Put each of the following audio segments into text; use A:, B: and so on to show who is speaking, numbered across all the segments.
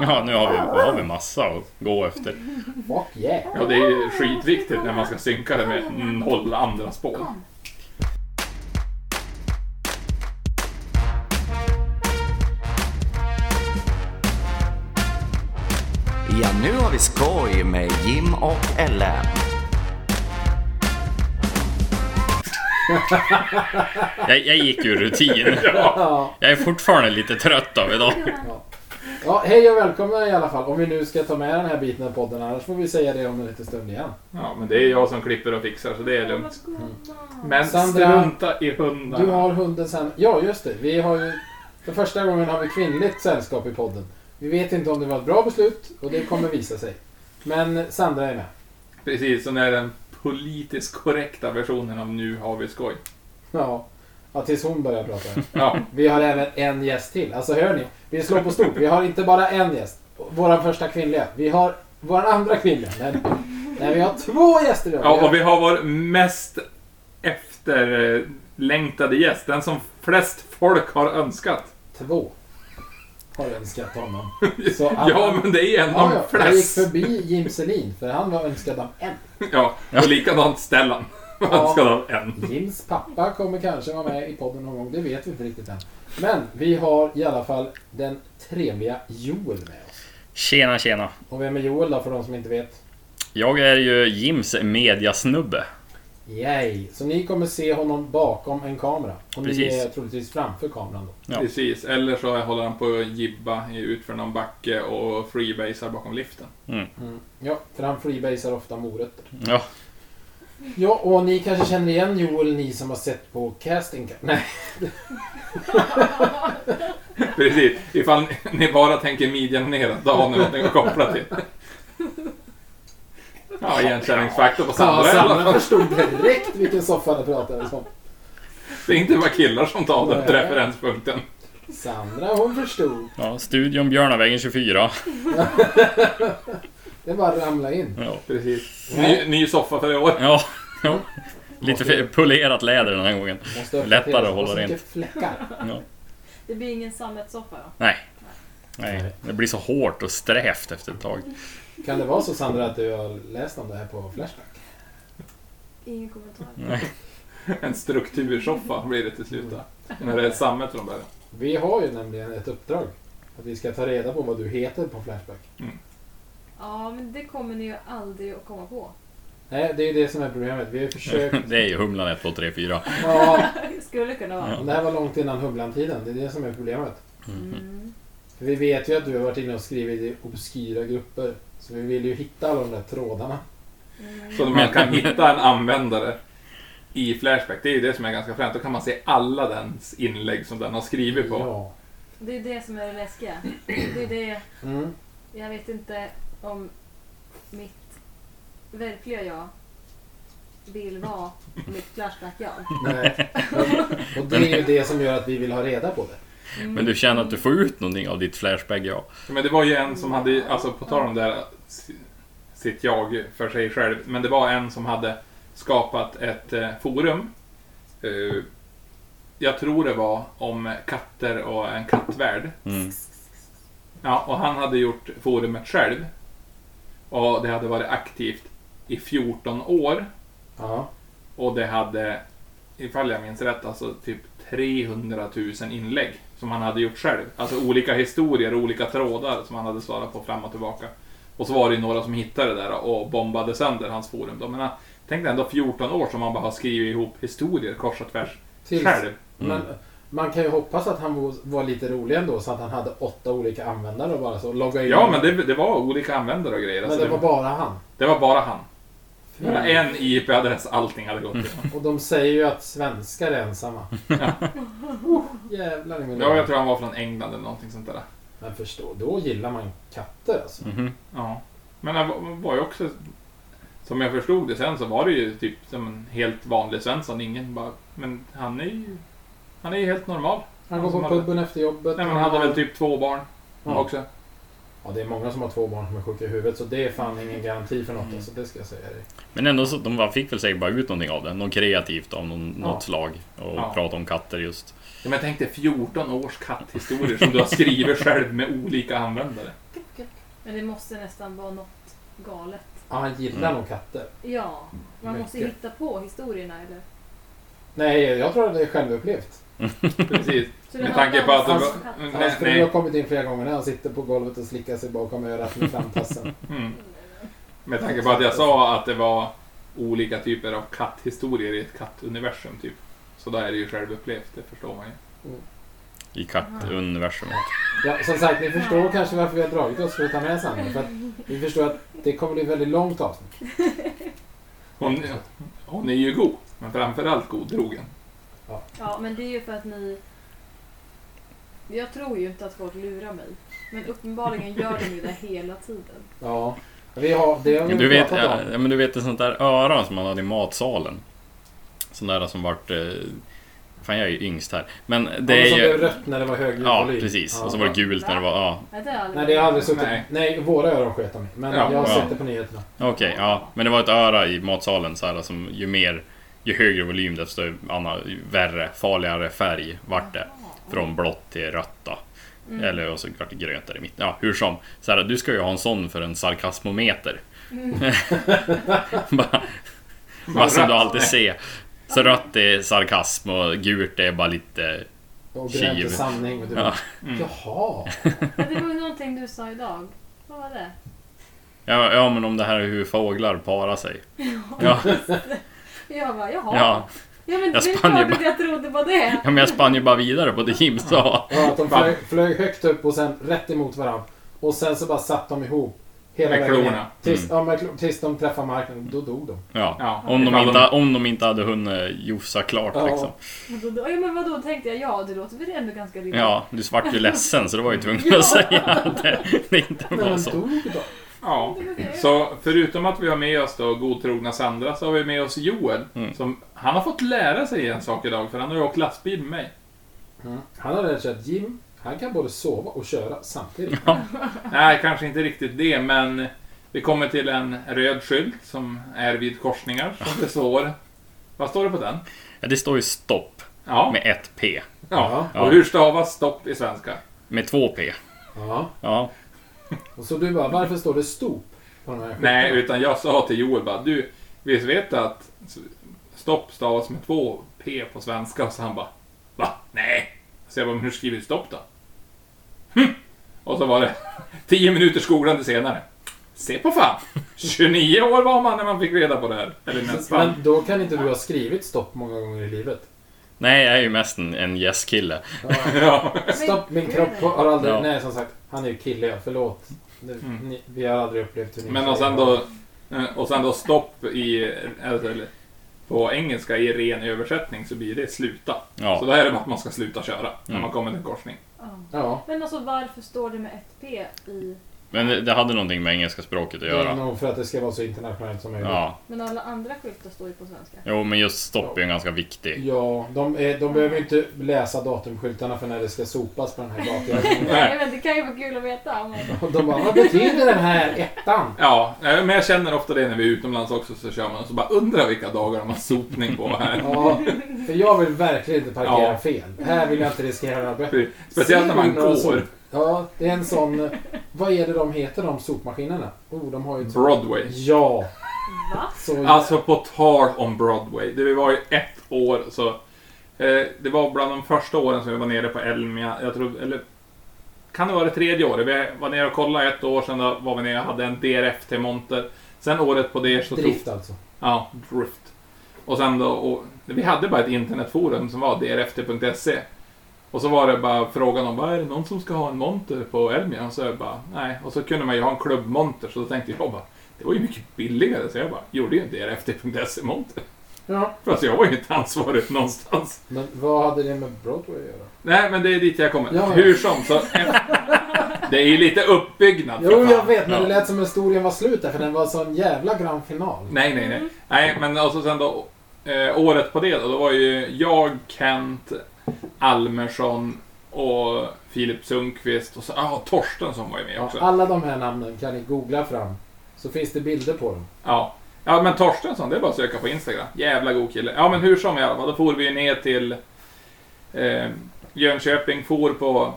A: Ja, nu har vi, har vi massa att gå efter.
B: Fuck yeah.
C: Och det är ju skitviktigt när man ska synka det med noll andra spår.
D: Ja, nu har vi skoj med Jim och Ellen.
A: Jag, jag gick ur rutin.
B: Ja.
A: Jag är fortfarande lite trött av idag.
B: ja, hej och välkomna i alla fall. Om vi nu ska ta med den här biten av podden, annars får vi säga det om en liten stund igen.
C: Ja, men det är jag som klipper och fixar så det är lugnt. Men
B: Sandra,
C: strunta i
B: Du
C: hundarna.
B: har hunden sen... Ja, just det. Vi har ju... För första gången har vi kvinnligt sällskap i podden. Vi vet inte om det var ett bra beslut och det kommer visa sig. Men Sandra är med.
C: Precis, som är den politiskt korrekta versionen av Nu har vi skoj.
B: Ja, ja tills hon börjar prata.
C: Ja,
B: Vi har även en gäst till. Alltså hör ni? Vi slår på stort. Vi har inte bara en gäst. Vår första kvinnliga. Vi har vår andra kvinnliga. Nej, nej vi har två gäster idag.
C: ja och vi har vår mest efterlängtade gäst. Den som flest folk har önskat.
B: Två. Har önskat honom. Så att-
C: Ja, men det är en
B: Ja,
C: av
B: ja. Jag gick
C: flest.
B: förbi Jim Selin för han var önskad av en.
C: Ja, och likadant Stellan.
B: Ja.
C: Han ska ha en.
B: Jims pappa kommer kanske vara med i podden någon gång. Det vet vi inte riktigt än. Men vi har i alla fall den trevliga Joel med oss.
A: Tjena, tjena.
B: Och vem är Joel då för de som inte vet?
A: Jag är ju Jims mediasnubbe.
B: Yay! Så ni kommer se honom bakom en kamera. Och ni
A: Precis.
B: är troligtvis framför kameran då.
A: Ja.
C: Precis, eller så håller han på att jibba ut för någon backe och freebasar bakom liften.
B: Ja, för han freebasar ofta morötter.
A: Ja,
B: Ja, och ni kanske känner igen Joel, ni som har sett på casting... Nej,
C: Precis, ifall ni bara tänker midjan neråt, då har ni någonting att koppla till. Ja, igenkänningsfaktor på
B: Sandra,
C: Sandra i alla fall.
B: förstod direkt vilken soffa det pratades om.
C: Det är inte bara killar som tar den
B: Nej.
C: referenspunkten.
B: Sandra, hon förstod.
A: ja studion Björnavägen 24.
B: Det bara ramla in.
A: Ja,
C: Precis.
B: Nej.
C: Ny, ny soffa för i år.
A: ja. ja. Lite fe- polerat läder den här gången.
B: Måste uppdateras.
A: Lättare att
B: Och
A: hålla
B: så
A: rent.
B: mycket fläckar.
A: Ja.
E: Det blir ingen sammetssoffa då?
A: Nej. Nej, det blir så hårt och strävt efter ett tag.
B: Kan det vara så Sandra att du har läst om det här på Flashback?
E: Ingen kommentar.
A: Nej.
C: En struktursoffa blir det till slut. då. När det är sammet från början.
B: Vi har ju nämligen ett uppdrag. Att vi ska ta reda på vad du heter på Flashback.
E: Ja, men det kommer ni ju aldrig att komma på.
B: Nej, det är ju det som är problemet. Vi har ju försökt...
A: Det är ju Humlan 1, 2, 3, 4.
B: Ja,
E: Det skulle kunna
C: Mm.
E: vara.
B: det här var långt innan Humlan-tiden. Det är det som är problemet.
E: Mm.
B: För vi vet ju att du har varit inne och skrivit i obskyra grupper. Så vi vill ju hitta alla de där trådarna.
C: Så man kan hitta en användare i Flashback. Det är ju det som är ganska fränt. Då kan man se alla dens inlägg som den har skrivit på.
B: Ja.
E: Det är det som är det läskiga. Det är det,
B: Mm.
E: jag vet inte om mitt verkliga jag vill vara mitt flashback-jag.
B: Nej. Och- Och det är ju det som gör att vi vill ha reda på det.
A: Men du känner att du får ut någonting av ditt flashback, ja.
C: Men det var ju en som hade, alltså på tal om det här si- sitt jag för sig själv, men det var en som hade skapat ett eh, forum. Eh, Jag tror det var om katter och en kattvärld.
A: Mm.
C: Ja, och han hade gjort forumet själv. Och det hade varit aktivt i 14 år.
B: Ja.
C: Och det hade, ifall jag minns rätt, alltså typ 300 000 inlägg som han hade gjort själv. Alltså olika historier och olika trådar som han hade svarat på fram och tillbaka. Och så var det ju några som hittade det där och bombade sönder hans forum. då. Men han- tänk dig ändå 14 år som han bara har skrivit ihop historier kors och tvärs
B: Tills,
C: själv.
B: men
C: Mm.
B: man kan ju hoppas att han var- var lite rolig ändå så att han hade åtta olika användare och bara så logga in.
C: Ja, men det, det var olika användare och grejer.
B: Men
C: Alltså,
B: det var bara Mm. han.
C: bara han. Bara en IP-adress, allting hade gått till honom.
B: Och de säger ju att svenskar är ensamma. Oh, jävlar i min
C: Ja, jag tror han var från England eller någonting sånt där.
B: Men förstå, då gillar man katter alltså.
A: Mhm.
C: Ja. Men han var- var ju också... Som jag förstod det sen så var det ju typ som en helt vanlig Svensson. Ingen bara... Men han är ju... Han är ju helt normal.
B: Han
C: Han
B: går
C: som
B: på
C: hade-
B: puben efter jobbet.
C: Nej, men han hade väl typ två barn
B: Ja.
C: också.
B: Ja, det är många som har två barn som är sjuka i huvudet så det är fan ingen garanti för något.
C: Mm.
B: Alltså, det ska jag säga dig.
A: Men ändå så de fick väl säkert bara ut någonting av det. Något kreativt av någon,
B: Ja.
A: något slag. Och
C: Ja.
A: prata om katter just.
C: Ja, men jag tänkte 14 års katthistorier som du har skrivit själv med olika användare.
E: Men det måste nästan vara något galet.
B: Ja, han gillar
A: Mm.
B: nog katter.
E: Ja, man måste
B: Mycket.
E: hitta på historierna eller?
B: Nej, jag tror att det är självupplevt.
C: Precis.
E: Så
C: Med
E: handlar
C: tanke
E: om
C: på att... Det
E: hans
C: var,
E: katt.
B: Han
C: nej,
B: skulle ha
C: nej.
B: kommit in flera gånger när han sitter på golvet och slickar sig bakom örat med framtassen.
C: Mm. Med tanke på att jag sa att det var olika typer av katthistorier i ett kattuniversum typ. Så då är det ju självupplevt, det förstår man ju.
A: I kattuniversumet.
B: Ja, som sagt, ni förstår kanske varför vi har dragit oss för att ta med Sandra. För att vi förstår att det kommer bli ett väldigt långt avsnitt.
C: Hon, hon är ju god, men framförallt godtrogen.
E: Ja, men det är ju för att ni... Jag tror ju inte att folk lurar mig. Men uppenbarligen gör de ju det hela tiden.
B: Ja, vi har, det har vi
A: Men du, vet,
B: pratat om.
A: ja, men du vet ett sånt där öra som man hade i matsalen. Sån där som vart... Eh, fan, jag är ju yngst här. Men det
B: Ja,
A: är
B: som blev
A: ju...
B: rött när det var hög
A: Ja,
B: ljudvolym.
A: precis.
B: Ja.
A: Och så var det gult när det var... Ja,
E: Nej, det har jag aldrig
B: Nej, det har aldrig suttit... Nej,
C: Nej.
B: våra öron sköt om Men
C: Ja,
B: jag har
A: ja.
B: sett det på nyheterna.
A: okej. ja. Men det var ett öra i matsalen så här, som ju mer... Ju högre volym desto annan, värre, farligare färg vart det. Från blått till rött då.
E: Mm.
A: Eller och så vart det grönt där i mitten. Ja, hur som. Så här, du ska ju ha en sån för en sarkasmometer. bara, bara som du alltid ser. Så rött är sarkasm och gult är bara lite...
B: Och grönt
A: Kiv.
B: är sanning. Och du,
A: Ja. Mm.
B: Jaha.
E: Men det var ju någonting du sa idag. Vad var det?
A: Ja, ja, men om det här är hur fåglar parar sig. Ja,
E: Jag bara, jaha.
A: ja.
E: ja men det
A: Jag
E: är
A: spann ju
E: klart att jag trodde på det.
A: ja men jag spann ju bara vidare på det Jim sa.
B: Ja, att de flög, flög högt upp och sen rätt emot varandra. Och sen så bara satt de ihop. Hela
C: Med
B: vägen
C: klorna. Mm.
B: ner. Tills, ja, med klor, tills de träffade marken. Då dog de.
A: Ja.
C: Ja,
A: Om, de
C: ifall
A: inte, om de inte hade hunnit jofsa klart
B: Ja.
A: liksom.
E: Och då- då- Ja men vadå, tänkte jag, ja det låter väl ändå ganska rimligt.
A: Ja, du svart ju ledsen så du var ju tvungen att säga att det, det inte
B: Men
A: var
B: de
A: så.
B: dog då.
C: Ja. Så förutom att vi har med oss då godtrogna Sandra så har vi med oss Joel.
A: Mm.
C: Som, han har fått lära sig en sak idag för han har ju åkt lastbil med mig.
B: Han har lärt sig att Jim, han kan både sova och köra samtidigt.
C: Nej, kanske inte riktigt det, men vi kommer till en röd skylt som är vid korsningar som det står. Vad står det på den?
A: Ja, det står ju stopp
C: Ja.
A: med ett P.
C: ja.
A: Ja.
C: Och hur stavas stopp i svenska?
A: Med två P.
B: Ja.
A: Ja.
B: Och så du bara, varför står det stop? På den här skylten?
C: Nej, utan jag sa till Joel bara, du, visst vet du att stopp stavas med två P på svenska? Så han bara, va? Nej. Så jag bara, men hur skriver du stopp då? Hm. Och så var det tio minuter skolande senare. Se på fan! 29 år var man när man fick reda på det här. Eller nästan.
B: Men då kan inte du ha skrivit stopp många gånger i livet.
A: Nej, jag är ju mest en, en yes-kille.
C: Ja.
B: Stopp, min kropp har aldrig...
A: Ja.
B: Nej, som sagt. Han är ju kille, ja. Förlåt. Nu, ni, vi har aldrig upplevt hur ni
C: Mm. Men och sen då, eh, och sen då stopp i, alltså, eller, på engelska i ren översättning så blir det sluta.
A: Ja.
C: Så då är det bara att man ska sluta köra när
A: Mm.
C: man kommer till en korsning.
E: Ja.
B: Ja.
E: Men alltså varför står det med ett P i...
A: Men det, det hade någonting med engelska språket att
B: Det är
A: göra.
B: nog för att det ska vara så internationellt som möjligt.
A: Ja.
E: Men alla andra skyltar står ju på svenska.
A: Jo, men just stopp är ju ganska viktig.
B: Ja, de, är, de behöver ju inte läsa datumskyltarna för när det ska sopas på den här gatan.
E: Nej men det kan ju vara kul att veta. Om man...
B: Och de bara, vad betyder den här ettan?
C: Ja, eh, men jag känner ofta det när vi är utomlands också så kör man och så bara undrar vilka dagar de har sopning på här.
B: Ja, för jag vill verkligen inte parkera
C: Ja.
B: fel. Här vill jag inte riskera några böter.
C: Speciellt när man
B: Ser några sop-
C: går
B: Ja, det är en sån... eh, Vad är det de heter de sopmaskinerna? Oh, de har ju... ett-
C: Broadway.
B: Ja,
E: Va?
B: så...
C: Alltså på tal om Broadway. Det var ju ett år så... Eh, det var bland de första åren som vi var nere på Elmia. Jag tror, eller... Kan det vara det tredje året? Vi var nere och kollade ett år sedan. Då var vi nere och hade en DRF-T-monter. Sen året på det så
B: drift alltså.
C: Ja, Drift. Och sen då, och, vi hade bara ett internetforum som var drft.se. Och så var det bara frågan om, vad är det någon som ska ha en monter på Elmia? Och så jag bara, nej. Och så kunde man ju ha en klubbmonter, så då tänkte jag bara, det var ju mycket billigare. Så jag bara, gjorde ju en drft.se-monter.
B: Ja.
C: Fast jag var ju inte ansvarig någonstans.
B: Men vad hade det med Broadway att göra?
C: Nej, men det är dit jag kommer.
B: Ja.
C: Hur som, så... det är ju lite uppbyggnad. för
B: Jo,
C: fan.
B: jag vet, men det
A: Ja.
B: lät som historien var slut där, för den var sån jävla grand final.
C: Nej, nej, nej. Nej, men alltså sen då, eh, året på det då, då var ju jag, Kent, Almersson och Filip Sundqvist och så, ah, Torsten som var ju med
B: Ja,
C: också. Ja,
B: alla de här namnen kan ni googla fram. Så finns det bilder på dem.
C: ja. men Torstensson, det är bara att söka på Instagram. Jävla god kille. Ja, men hur som i alla fall, då for vi ju ner till eh, Jönköping, for på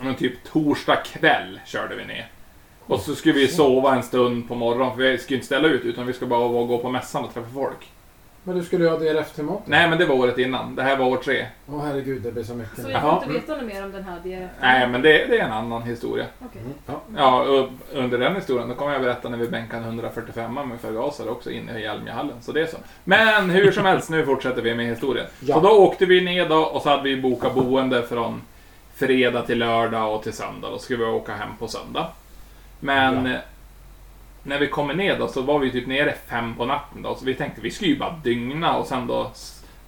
C: men, typ torsdag kväll körde vi ner. Och så skulle vi sova en stund på morgonen, för vi skulle inte ställa ut, utan vi skulle bara vara- gå på mässan och träffa folk.
B: Men du skulle ju ha DRF-temat.
C: Nej, men det var året innan. Det här var år tre.
B: Åh herregud, det blir så mycket.
E: Så
B: nu.
E: vi
C: Jaha,
E: får inte
C: mm.
E: veta något mer om den här DRF?
C: Nej, men det, det är en annan historia.
E: Okej.
B: Mm, ja.
C: Ja, och under den historien, då kommer jag berätta när vi bänkade 145 med förgasare också inne i Almjahallen. Så det är så. Men hur som helst, nu fortsätter vi med historien.
B: Ja.
C: Så då åkte vi ner då och så hade vi bokat boende från fredag till lördag och till söndag. Då skulle vi åka hem på söndag. Men eh, när vi kommer ner då så var vi typ nere fem på natten då. Så vi tänkte vi skulle ju bara dygna och sen då...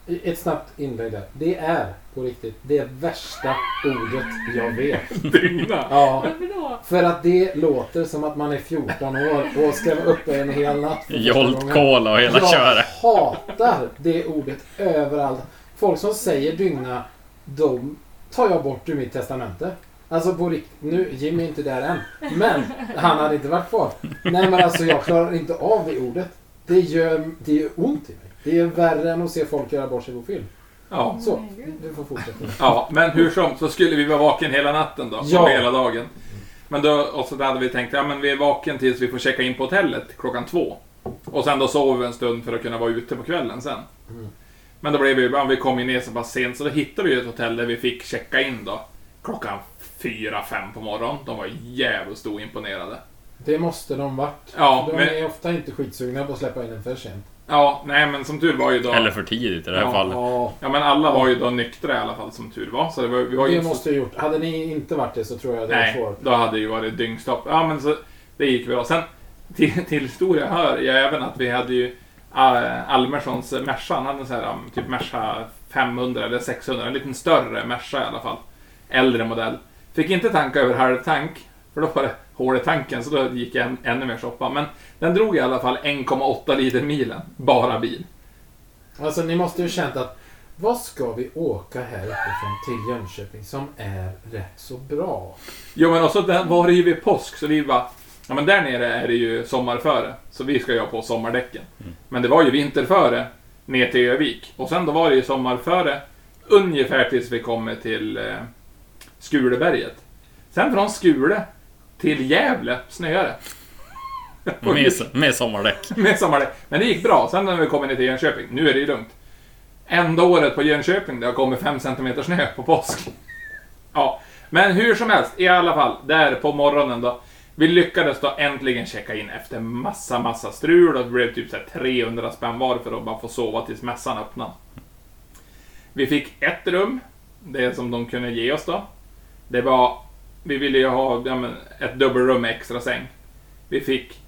B: I- Ett snabbt inlägg där. Det är på riktigt det värsta ordet jag vet.
C: Dygna?
B: Ja.
E: Varför då?
B: För att det låter som att man är 14 år och ska vara uppe en hel natt. för första
A: Jolt
B: gången.
A: Cola och hela
B: Jag
A: köret.
B: hatar det ordet överallt. Folk som säger dygna, de tar jag bort ur mitt testamente. Alltså på riktigt, nu, Jimmy är inte där än. Men han hade inte varit kvar. Nej men alltså jag klarar inte av det ordet. Det gör, det gör ont i mig. Det är värre än att se folk göra bort sig på film.
C: Ja.
B: Så, du får fortsätta.
C: Ja, men hur som så skulle vi vara vaken hela natten då,
B: Ja.
C: och hela dagen. Men då, och så hade vi tänkt, ja men vi är vaken tills vi får checka in på hotellet klockan två. Och sen då sover vi en stund för att kunna vara ute på kvällen sen.
B: Mm.
C: Men då blev vi, ja, vi kom ju ner så pass sent, så då hittade vi ju ett hotell där vi fick checka in då. Klockan fyra, fem på morgonen. De var jävligt imponerade.
B: Det måste de varit.
C: Ja,
B: de
C: men-
B: är ofta inte skitsugna på att släppa in en för sent.
C: Ja, nej men som tur var ju då...
A: Eller för tidigt i det här
C: Ja.
A: fallet.
B: Ja,
C: Ja men alla var ju då nyktra i alla fall som tur var. Så det var, vi var ju
B: det
C: inte så
B: måste jag gjort. Hade ni inte varit det så tror jag det var
C: Nej,
B: svårt.
C: då hade det ju varit dyngstopp. Ja, men så, det gick bra. Sen till, till historia hör jag även att vi hade ju äh, Almerssons eh, Merca. Han hade en sån här um, typ Merca 500 eller 600, en liten större Merca i alla fall. Äldre modell. Fick inte tanka över halvtank, för då var det hål i tanken, så då gick jag en, ännu mer shoppa. Men den drog i alla fall 1,8 liter milen, bara bil.
B: Alltså ni måste ju känt att vad ska vi åka här uppifrån till Jönköping som är rätt så bra?
C: Jo men också den var det ju vid påsk så vi bara Ja men där nere är det ju sommarföre så vi ska ju ha på sommardäcken. Men det var ju vinterföre ner till Övik och sen då var det ju sommarföre ungefär tills vi kommer till eh, Skuleberget. Sen från Skule till Gävle snöade det.
A: Med, med sommardäck.
C: Med sommardäck. Men det gick bra. Sen när vi kommer ner till Jönköping, nu är det ju lugnt. Enda året på Jönköping, det har kommit 5 cm snö på påsk. Ja, men hur som helst, i alla fall, där på morgonen då. Vi lyckades då äntligen checka in efter massa, massa strul och det blev typ så här 300 spänn var för att bara få sova tills mässan öppnade. Vi fick ett rum, det som de kunde ge oss då. Det var, vi ville ju ha ja, men, ett dubbelrum med extra säng. Vi fick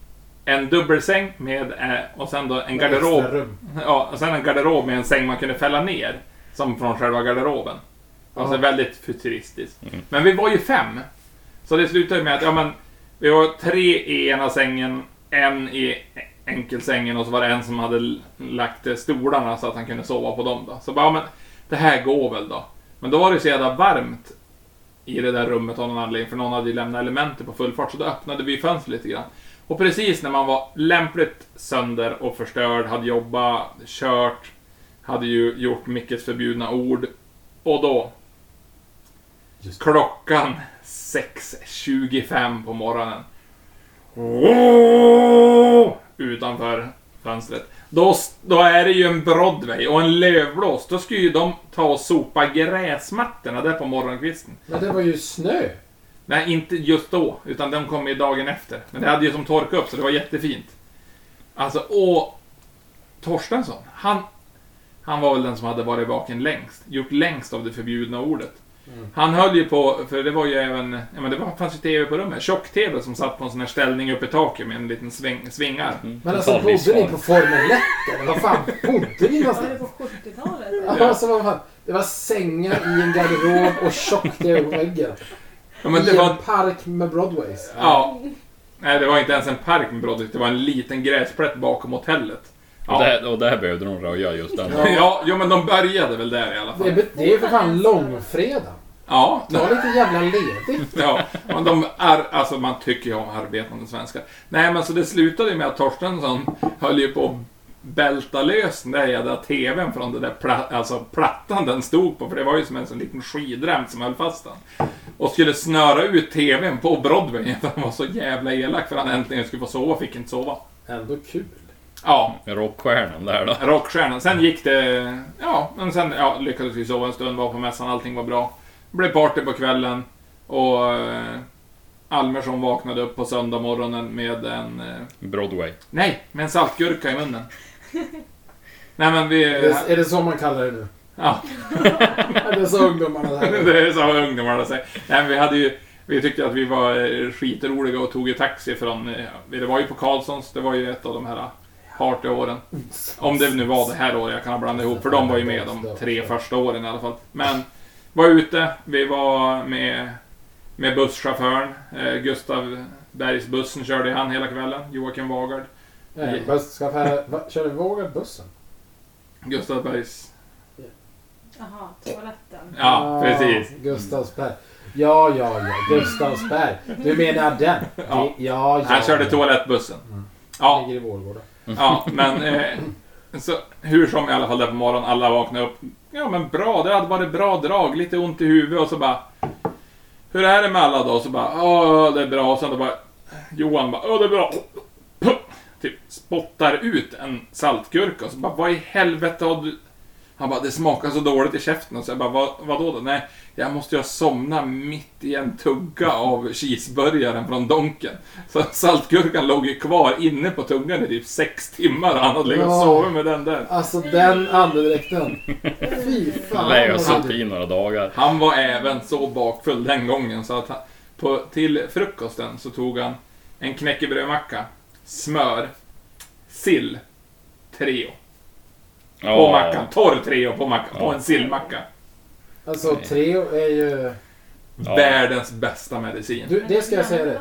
C: en dubbelsäng med, eh, och sen då en garderob.
B: Extra rum.
C: Ja, och sen en garderob med en säng man kunde fälla ner. Som från själva garderoben. Alltså
B: Ja.
C: väldigt futuristiskt. Men vi var ju fem. Så det slutade ju med att, ja men, vi var tre i ena sängen, en i enkelsängen och så var det en som hade l- lagt eh, stolarna så att han kunde sova på dem då. Så bara, ja men, det här går väl då. Men då var det så jävla varmt i det där rummet av någon anledning, för någon hade ju lämnat elementet på full fart, så då öppnade vi fönstret lite grann. Och precis när man var lämpligt sönder och förstörd, hade jobbat, kört, hade ju gjort Mickes förbjudna ord. Och då,
B: Just.
C: klockan 6.25 på morgonen. Utanför fönstret. Då, då är det ju en Broadway och en lövblås. Då skulle ju de ta och sopa gräsmattorna där på morgonkvisten.
B: Men det var ju snö.
C: Nej, inte just då, utan den kom ju dagen efter. Men det hade ju som torkat upp, så det var jättefint. Alltså, och Torstensson, han, han var väl den som hade varit vaken längst, gjort längst av det förbjudna ordet. Han höll ju på, för det var ju även, ja men det var, fanns ju TV på rummet, tjock-TV som satt på en sån här ställning uppe i taket med en liten sväng, svingar.
B: Men alltså
A: Total
B: bodde ni
A: livsfarligt.
B: på Formel 1 eller vad fan bodde ni
E: Var det
B: någonstans?
E: på 70-talet?
B: Ja, alltså, vad fan? Det var sängar i en garderob och tjockt över väggen.
C: Ja, men det
B: I
C: var,
B: en park med Broadways.
C: ja. Nej, det var inte ens en park med Broadway, det var en liten gräsplätt bakom hotellet.
A: Och
C: Ja,
A: där, och där behövde de röja just den.
C: ja, jo, men de började väl där i alla fall.
B: Det är, det är för fan långfredag.
C: Ja,
B: Ta lite jävla ledigt.
C: Ja, men de är, alltså man tycker ju om arbetande svenskar. Nej, men så det slutade ju med att Torstensson höll ju på att bälta lös den där jävla TVn från den där pla- alltså plattan den stod på, för det var ju som en sån liten skidrem som höll fast den. Och skulle snöra ut TVn på Broadway, för han var så jävla elak för han äntligen skulle få sova, fick inte sova.
B: Ändå kul.
C: Ja,
A: Rockstjärnan där då.
C: rockstjärnan. Sen gick det... Ja, men sen ja, lyckades vi sova en stund, var på mässan, allting var bra. Blev party på kvällen och eh, Almersson vaknade upp på söndag morgonen med en... Eh,
A: Broadway.
C: nej, med en saltgurka i munnen. nej men vi...
B: Är det, är det så man kallar det nu?
C: ja,
B: Är det så ungdomarna där?
C: det är så ungdomarna säger. Nej men vi hade ju... Vi tyckte att vi var eh, skitroliga och tog ju taxi från... eh, Det var ju på Karlssons, det var ju ett av de här partyåren. Om det nu var det här året, jag kan ha blandat ihop, för de var ju med de tre första åren i alla fall. Men, var ute, vi var med, med busschauffören, eh, Gustav Bergsbussen körde han hela kvällen, Joakim Wagard.
B: Nej, busschaufförer- va, Kör du vågar bussen?
C: Gustav Bergs...
E: Jaha, toaletten.
B: Ah.
C: Ja, precis.
B: Gustavsberg. Ja, ja, ja. Gustavsberg. Du menar den? Det-
C: Ja.
B: Ja, ja.
C: Han körde toalettbussen.
B: Ja.
C: Ja,
B: Ligger i Vårgårda.
C: ja, men... Eh, så, hur som i alla fall där på morgonen, alla vaknade upp. Ja men bra, det hade varit bra drag, lite ont i huvudet och så bara... Hur är det med alla då? Så bara, ja det är bra. Och sen då bara... Johan bara, ja det är bra. Typ spottar ut en saltgurka och så bara, vad i helvete har du... Han bara, det smakar så dåligt i käften. Och så jag bara, vad, vadå då? Nej, jag måste ju ha somnat mitt i en tugga av cheeseburgaren från Donken. Så saltgurkan låg ju kvar inne på tungan i typ sex timmar och han hade legat och
B: Ja.
C: sovit med den där.
B: Alltså den andedräkten. Fy fan.
A: Nej, jag har
B: vad
A: suttit
B: hade-
A: i några dagar.
C: Han var även så bakfull den gången så att han, på, till frukosten så tog han en knäckebrödmacka, smör, sill, Treo på
A: Ja.
C: mackan. Torr Treo på mackan, på
A: Ja.
C: en sillmacka.
B: Alltså tre är ju...
A: Ja.
C: Världens bästa medicin.
B: Du, det ska jag säga
E: det.
B: dig.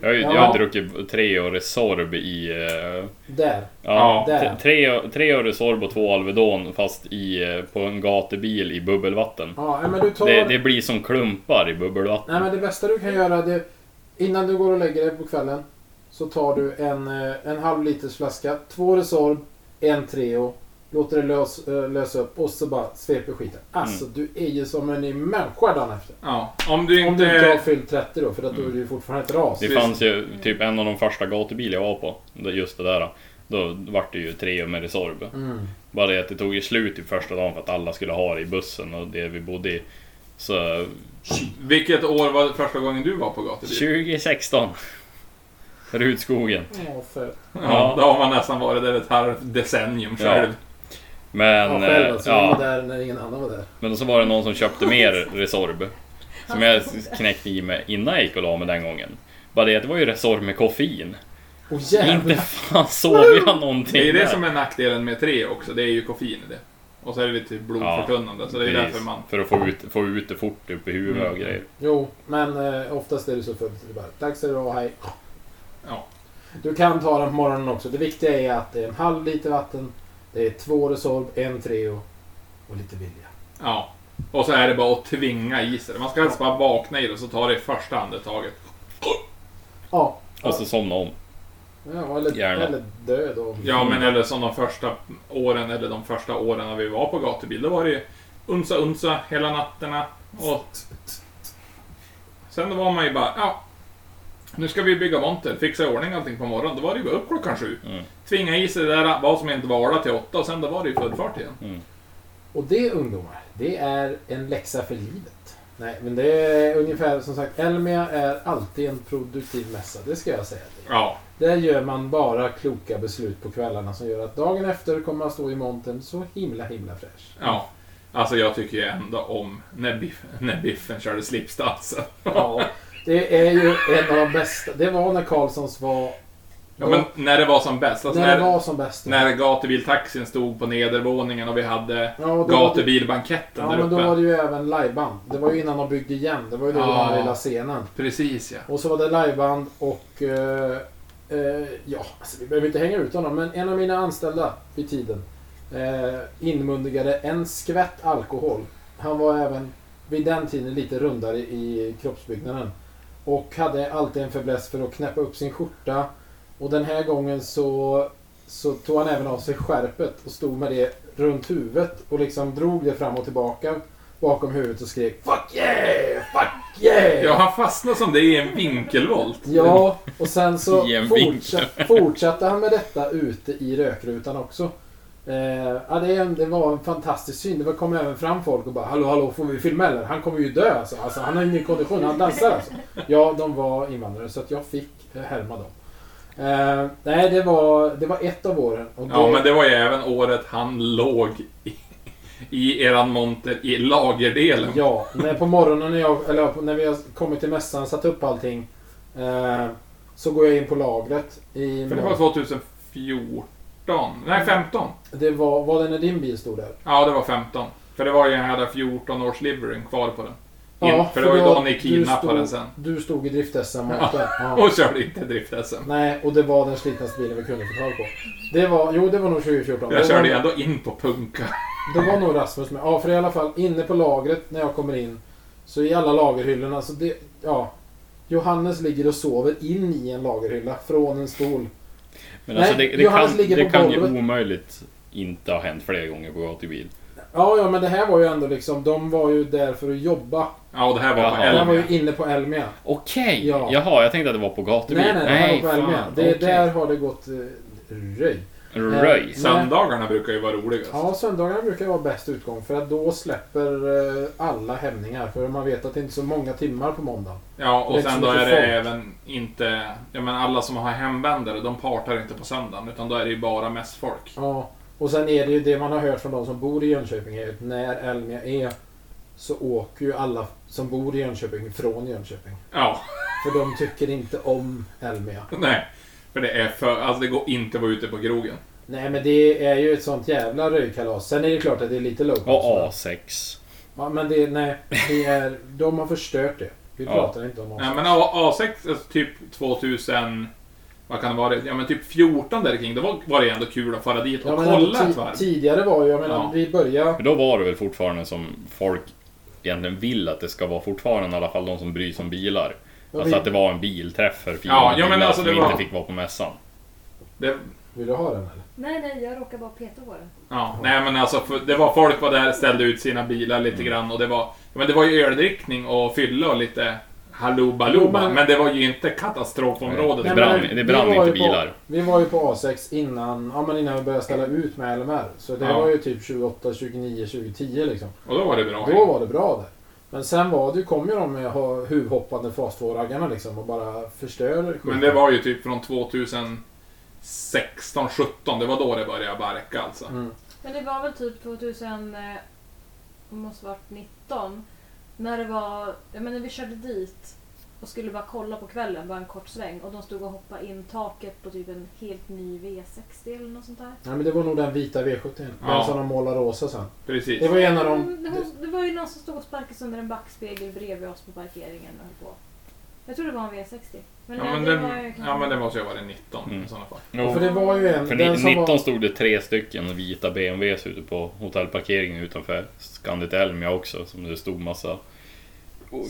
A: Jag, har ju- jag
B: Ja.
A: har druckit tre år Resorb i... eh,
B: Där.
A: Ja,
B: Ja.
A: t- tre, tre år Resorb och två Alvedon fast i, eh, på en gatubil i bubbelvatten.
B: Ja, nej, men du tar...
A: Det, det blir som klumpar i bubbelvatten.
B: Nej, men det bästa du kan göra det... Innan du går och lägger dig på kvällen så tar du en, eh, en halv liters flaska, två Resorb, en Treo, låter det lös, eh, lösa upp och så bara sveper skiten.
A: Mm.
B: Alltså, du är ju som en ny människa dagen efter.
C: Ja, om du
B: Om du inte har
C: inte...
B: fyllt 30 då, för att då är du ju fortfarande ett ras.
A: Mm. Det
C: Visst.
A: fanns ju typ en av de första gatubilar jag var på, det- just det där. Då vart det ju tre med Resorb.
B: Mm.
A: Bara det att det tog ju slut i första dagen för att alla skulle ha det i bussen och det vi bodde i. Så
C: Vilket år var det första gången du var på gatubil?
A: 2016. Rutskogen.
B: Ja, för...
C: Ja, då har man nästan varit där ett halvt decennium själv.
B: ja,
A: Men,
B: själv
A: eh,
B: alltså. Jag
A: ja,
B: var där när ingen annan var där.
A: men så var det någon som köpte mer Resorb. Som jag knäckte i mig innan jag gick och la mig den gången. Bara det att det var ju Resorb med koffein.
B: Åh
A: Inte
B: jävlar!
A: fan sov jag någonting
C: Det är ju det
A: där.
C: som är nackdelen med Treo också, det är ju koffein i det. Och så är det lite blodförtunnande, så det är ju
A: Precis.
C: därför man...
A: För att få ut, få ut det fort upp i huvudet
C: Mm.
A: och grejer.
B: Jo, men eh, oftast är det så fullt. Det är bara, Tack ska du ha, hej.
C: Ja.
B: Du kan ta den på morgonen också. Det viktiga är att det är en halv liter vatten, det är två Resorb, en Treo och lite vilja.
C: Ja. Och så är det bara att tvinga i sig det. Man ska helst bara vakna i det och så ta det i första andetaget.
B: Ja,
A: Och så somna om.
B: ja eller,
A: Gärna.
B: eller dö då.
C: Ja, men eller som de första åren, eller de första åren när vi var på gatubil, då var det ju unsa unsa hela natterna. Och sen då var man ju bara, ja. Nu ska vi bygga monter, fixa i ordning allting på morgonen. Då var det ju bara upp klockan sju.
A: Mm.
C: Tvinga i sig det där, vad som inte var alla till åtta och sen då var det ju full fart igen.
B: Och det ungdomar, det är en läxa för livet. Nej, men det är ungefär som sagt, Elmia är alltid en produktiv mässa, det ska jag säga dig.
C: Ja.
B: Där gör man bara kloka beslut på kvällarna som gör att dagen efter kommer man stå i montern så himla himla fräsch.
C: Ja. Alltså jag tycker ju ändå om när Biffen, när biffen körde slipsdansen.
B: Ja, det är ju en av de bästa. Det var när Karlssons var...
C: Ja, men när det var som bäst. Alltså
B: när
C: när,
B: det var som bäst.
C: när gatubiltaxin stod på nedervåningen och vi hade
B: Ja, då-
C: gatubilbanketten
B: Ja,
C: där
B: men då
C: uppe.
B: var det ju även liveband. Det var ju innan de byggde igen. Det var ju då
C: Ja.
B: den här lilla scenen.
C: Precis ja.
B: Och så var det liveband och... Eh, eh, ja, alltså, vi behöver inte hänga ut honom, men en av mina anställda vid tiden eh, inmundigade en skvätt alkohol. Han var även vid den tiden lite rundare i kroppsbyggnaden. Och hade alltid en fäbless för att knäppa upp sin skjorta. Och den här gången så, så tog han även av sig skärpet och stod med det runt huvudet och liksom drog det fram och tillbaka bakom huvudet och skrek Fuck yeah! Fuck yeah!
C: Ja, han fastnade som det i en vinkelvolt.
B: Ja, och sen så
A: Jämn
B: fortsatte, fortsatte han med detta ute i rökrutan också. Eh, ja, det, är en- det var en fantastisk syn. Det var- kom även fram folk och bara Hallå, hallå, får vi filma eller? Han kommer ju dö alltså. alltså han har ingen kondition, han dansar alltså. Ja, de var invandrare så att jag fick eh, härma dem. Eh, nej, det var, det var ett av åren. Och
C: Ja, men det var ju även året han låg i, i eran monter i lagerdelen.
B: Ja, när på morgonen när jag, eller ja, när vi har kommit till mässan, satt upp allting. Eh, så går jag in på lagret. I
C: För det var 2014. Nej, 15.
B: Det var, var det när din bil stod där?
C: Ja, det var 15. För det var ju, jag hade 14 års livering kvar på den. In,
B: Ja,
C: för det var ju
B: då-
C: då ni
B: du
C: kidnappade
B: stod-
C: den sen.
B: Du stod i drift-SM och
C: Ja.
B: åkte. ja.
C: Och körde inte drift-SM.
B: Nej, och det var den slitnaste bilen vi kunde få tag på. Det var, jo det var nog 2014.
C: Jag
B: det,
C: körde ju
B: var,
C: ändå in på punka.
B: det var nog Rasmus med. Ja, för i alla fall inne på lagret när jag kommer in. Så i alla lagerhyllorna, så det, ja. Johannes ligger och sover in i en lagerhylla från en stol.
A: Men alltså
B: Nej,
A: det, det
B: Johannes
A: kan,
B: ligger
A: det
B: på
A: kan ju
B: golvet.
A: omöjligt inte ha hänt flera gånger på gatubil.
B: Ja, ja, men det här var ju ändå liksom, de var ju där för att jobba.
C: Ja, och det här var på
A: Jaha.
B: De var
C: Elmia.
B: ju inne på Elmia.
A: Okej!
B: Ja.
A: Jaha, jag tänkte att det var på gatubil.
B: Nej, nej, de var på
A: fan,
B: Elmia. Det,
A: okej.
B: Där har det gått eh, röj.
A: Röj.
C: Söndagarna brukar ju vara roligast.
B: Ja, söndagarna brukar vara bäst utgång för att då släpper eh, alla hämningar. För man vet att det inte är så många timmar på måndag.
C: Ja,
B: Det
C: och
B: är
C: sen
B: inte
C: då
B: så
C: är
B: mycket
C: det
B: folk.
C: även inte... Ja, men alla som har hemvändare, de partar inte på söndagen. Utan då är det ju bara mest folk.
B: Ja, och sen är det ju det man har hört från de som bor i Jönköping. Är att när Elmia är så åker ju alla som bor i Jönköping från Jönköping.
C: Ja,
B: För de tycker inte om Elmia.
C: nej. För det är för... Alltså det går inte att vara ute på krogen.
B: Nej men det är ju ett sånt jävla röjkalas. Sen är det klart att det är lite low
A: Och
B: cost,
A: A6.
B: Ja, men det, nej, det är, de har förstört det. Vi
A: Ja.
B: pratar inte om
C: Nej,
B: oss.
C: men A- A6, alltså typ 2000... Vad kan det vara? Ja, men typ 14 där kring. Då var, var det ändå kul att fara dit och
B: Ja, men
C: kolla
B: ti-
C: ett varv.
B: tidigare var ju, jag menar,
C: Ja.
B: vi började
A: För då var det väl fortfarande som folk egentligen vill att det ska vara fortfarande, i alla fall de som bryr sig om bilar.
B: Ja,
A: alltså
B: vi-
A: att det var en bilträff för fina
C: Ja, ja, men
A: bilar
C: alltså
A: som
C: det
A: inte
C: var-
A: fick vara på mässan.
C: Det,
B: Vill du ha den eller?
E: Nej, nej, jag råkar bara peta på den.
C: ja, nej men alltså, för det var folk var där, ställde ut sina bilar lite
B: Mm.
C: grann och det var... ja, Men det var ju öldrickning och fylla och lite
B: Jo,
C: hallå
B: men-
C: men det var ju inte katastrofområdet.
A: Det
B: Nej,
A: brann,
B: men
A: det brann
B: vi var
A: inte
B: ju på-
A: bilar.
B: Vi var ju på A6 innan, ja, men innan vi började ställa ut med LMR. Så det
C: Ja.
B: var ju typ 28, 29, 2010 liksom.
C: Och då var det bra.
B: Då var det bra där. Men sen var det, kom ju de med ho- huvhoppande fas 2-raggarna liksom och bara förstör skiten.
C: Men det var ju typ från 2016, 17 Det var då det började barka alltså.
B: Mm.
E: Men det var väl typ 2000, eh, måste varit 19, när det var, jag menar vi körde dit och skulle bara kolla på kvällen, bara en kort sväng och de stod och hoppade in taket på typ en helt ny V60 eller något sånt där.
B: Nej men det var nog den vita V70. Den
C: Ja.
B: som de målade rosa sen.
C: Precis.
B: Det var ju en av de...
E: Men hon, det var ju någon som stod och sparkade sönder en backspegel bredvid oss på parkeringen och höll på. Jag tror det var en V60. Men,
C: Ja
E: nej,
C: men,
E: det
C: den,
E: var ju kanske-
C: ja, men det måste ju ha varit 19
A: Mm.
C: i sådana fall.
B: För det var ju en...
A: För
B: den
A: ni- 19 stod det tre stycken vita BMWs ute på hotellparkeringen utanför Scandit Elmia också, som det stod massa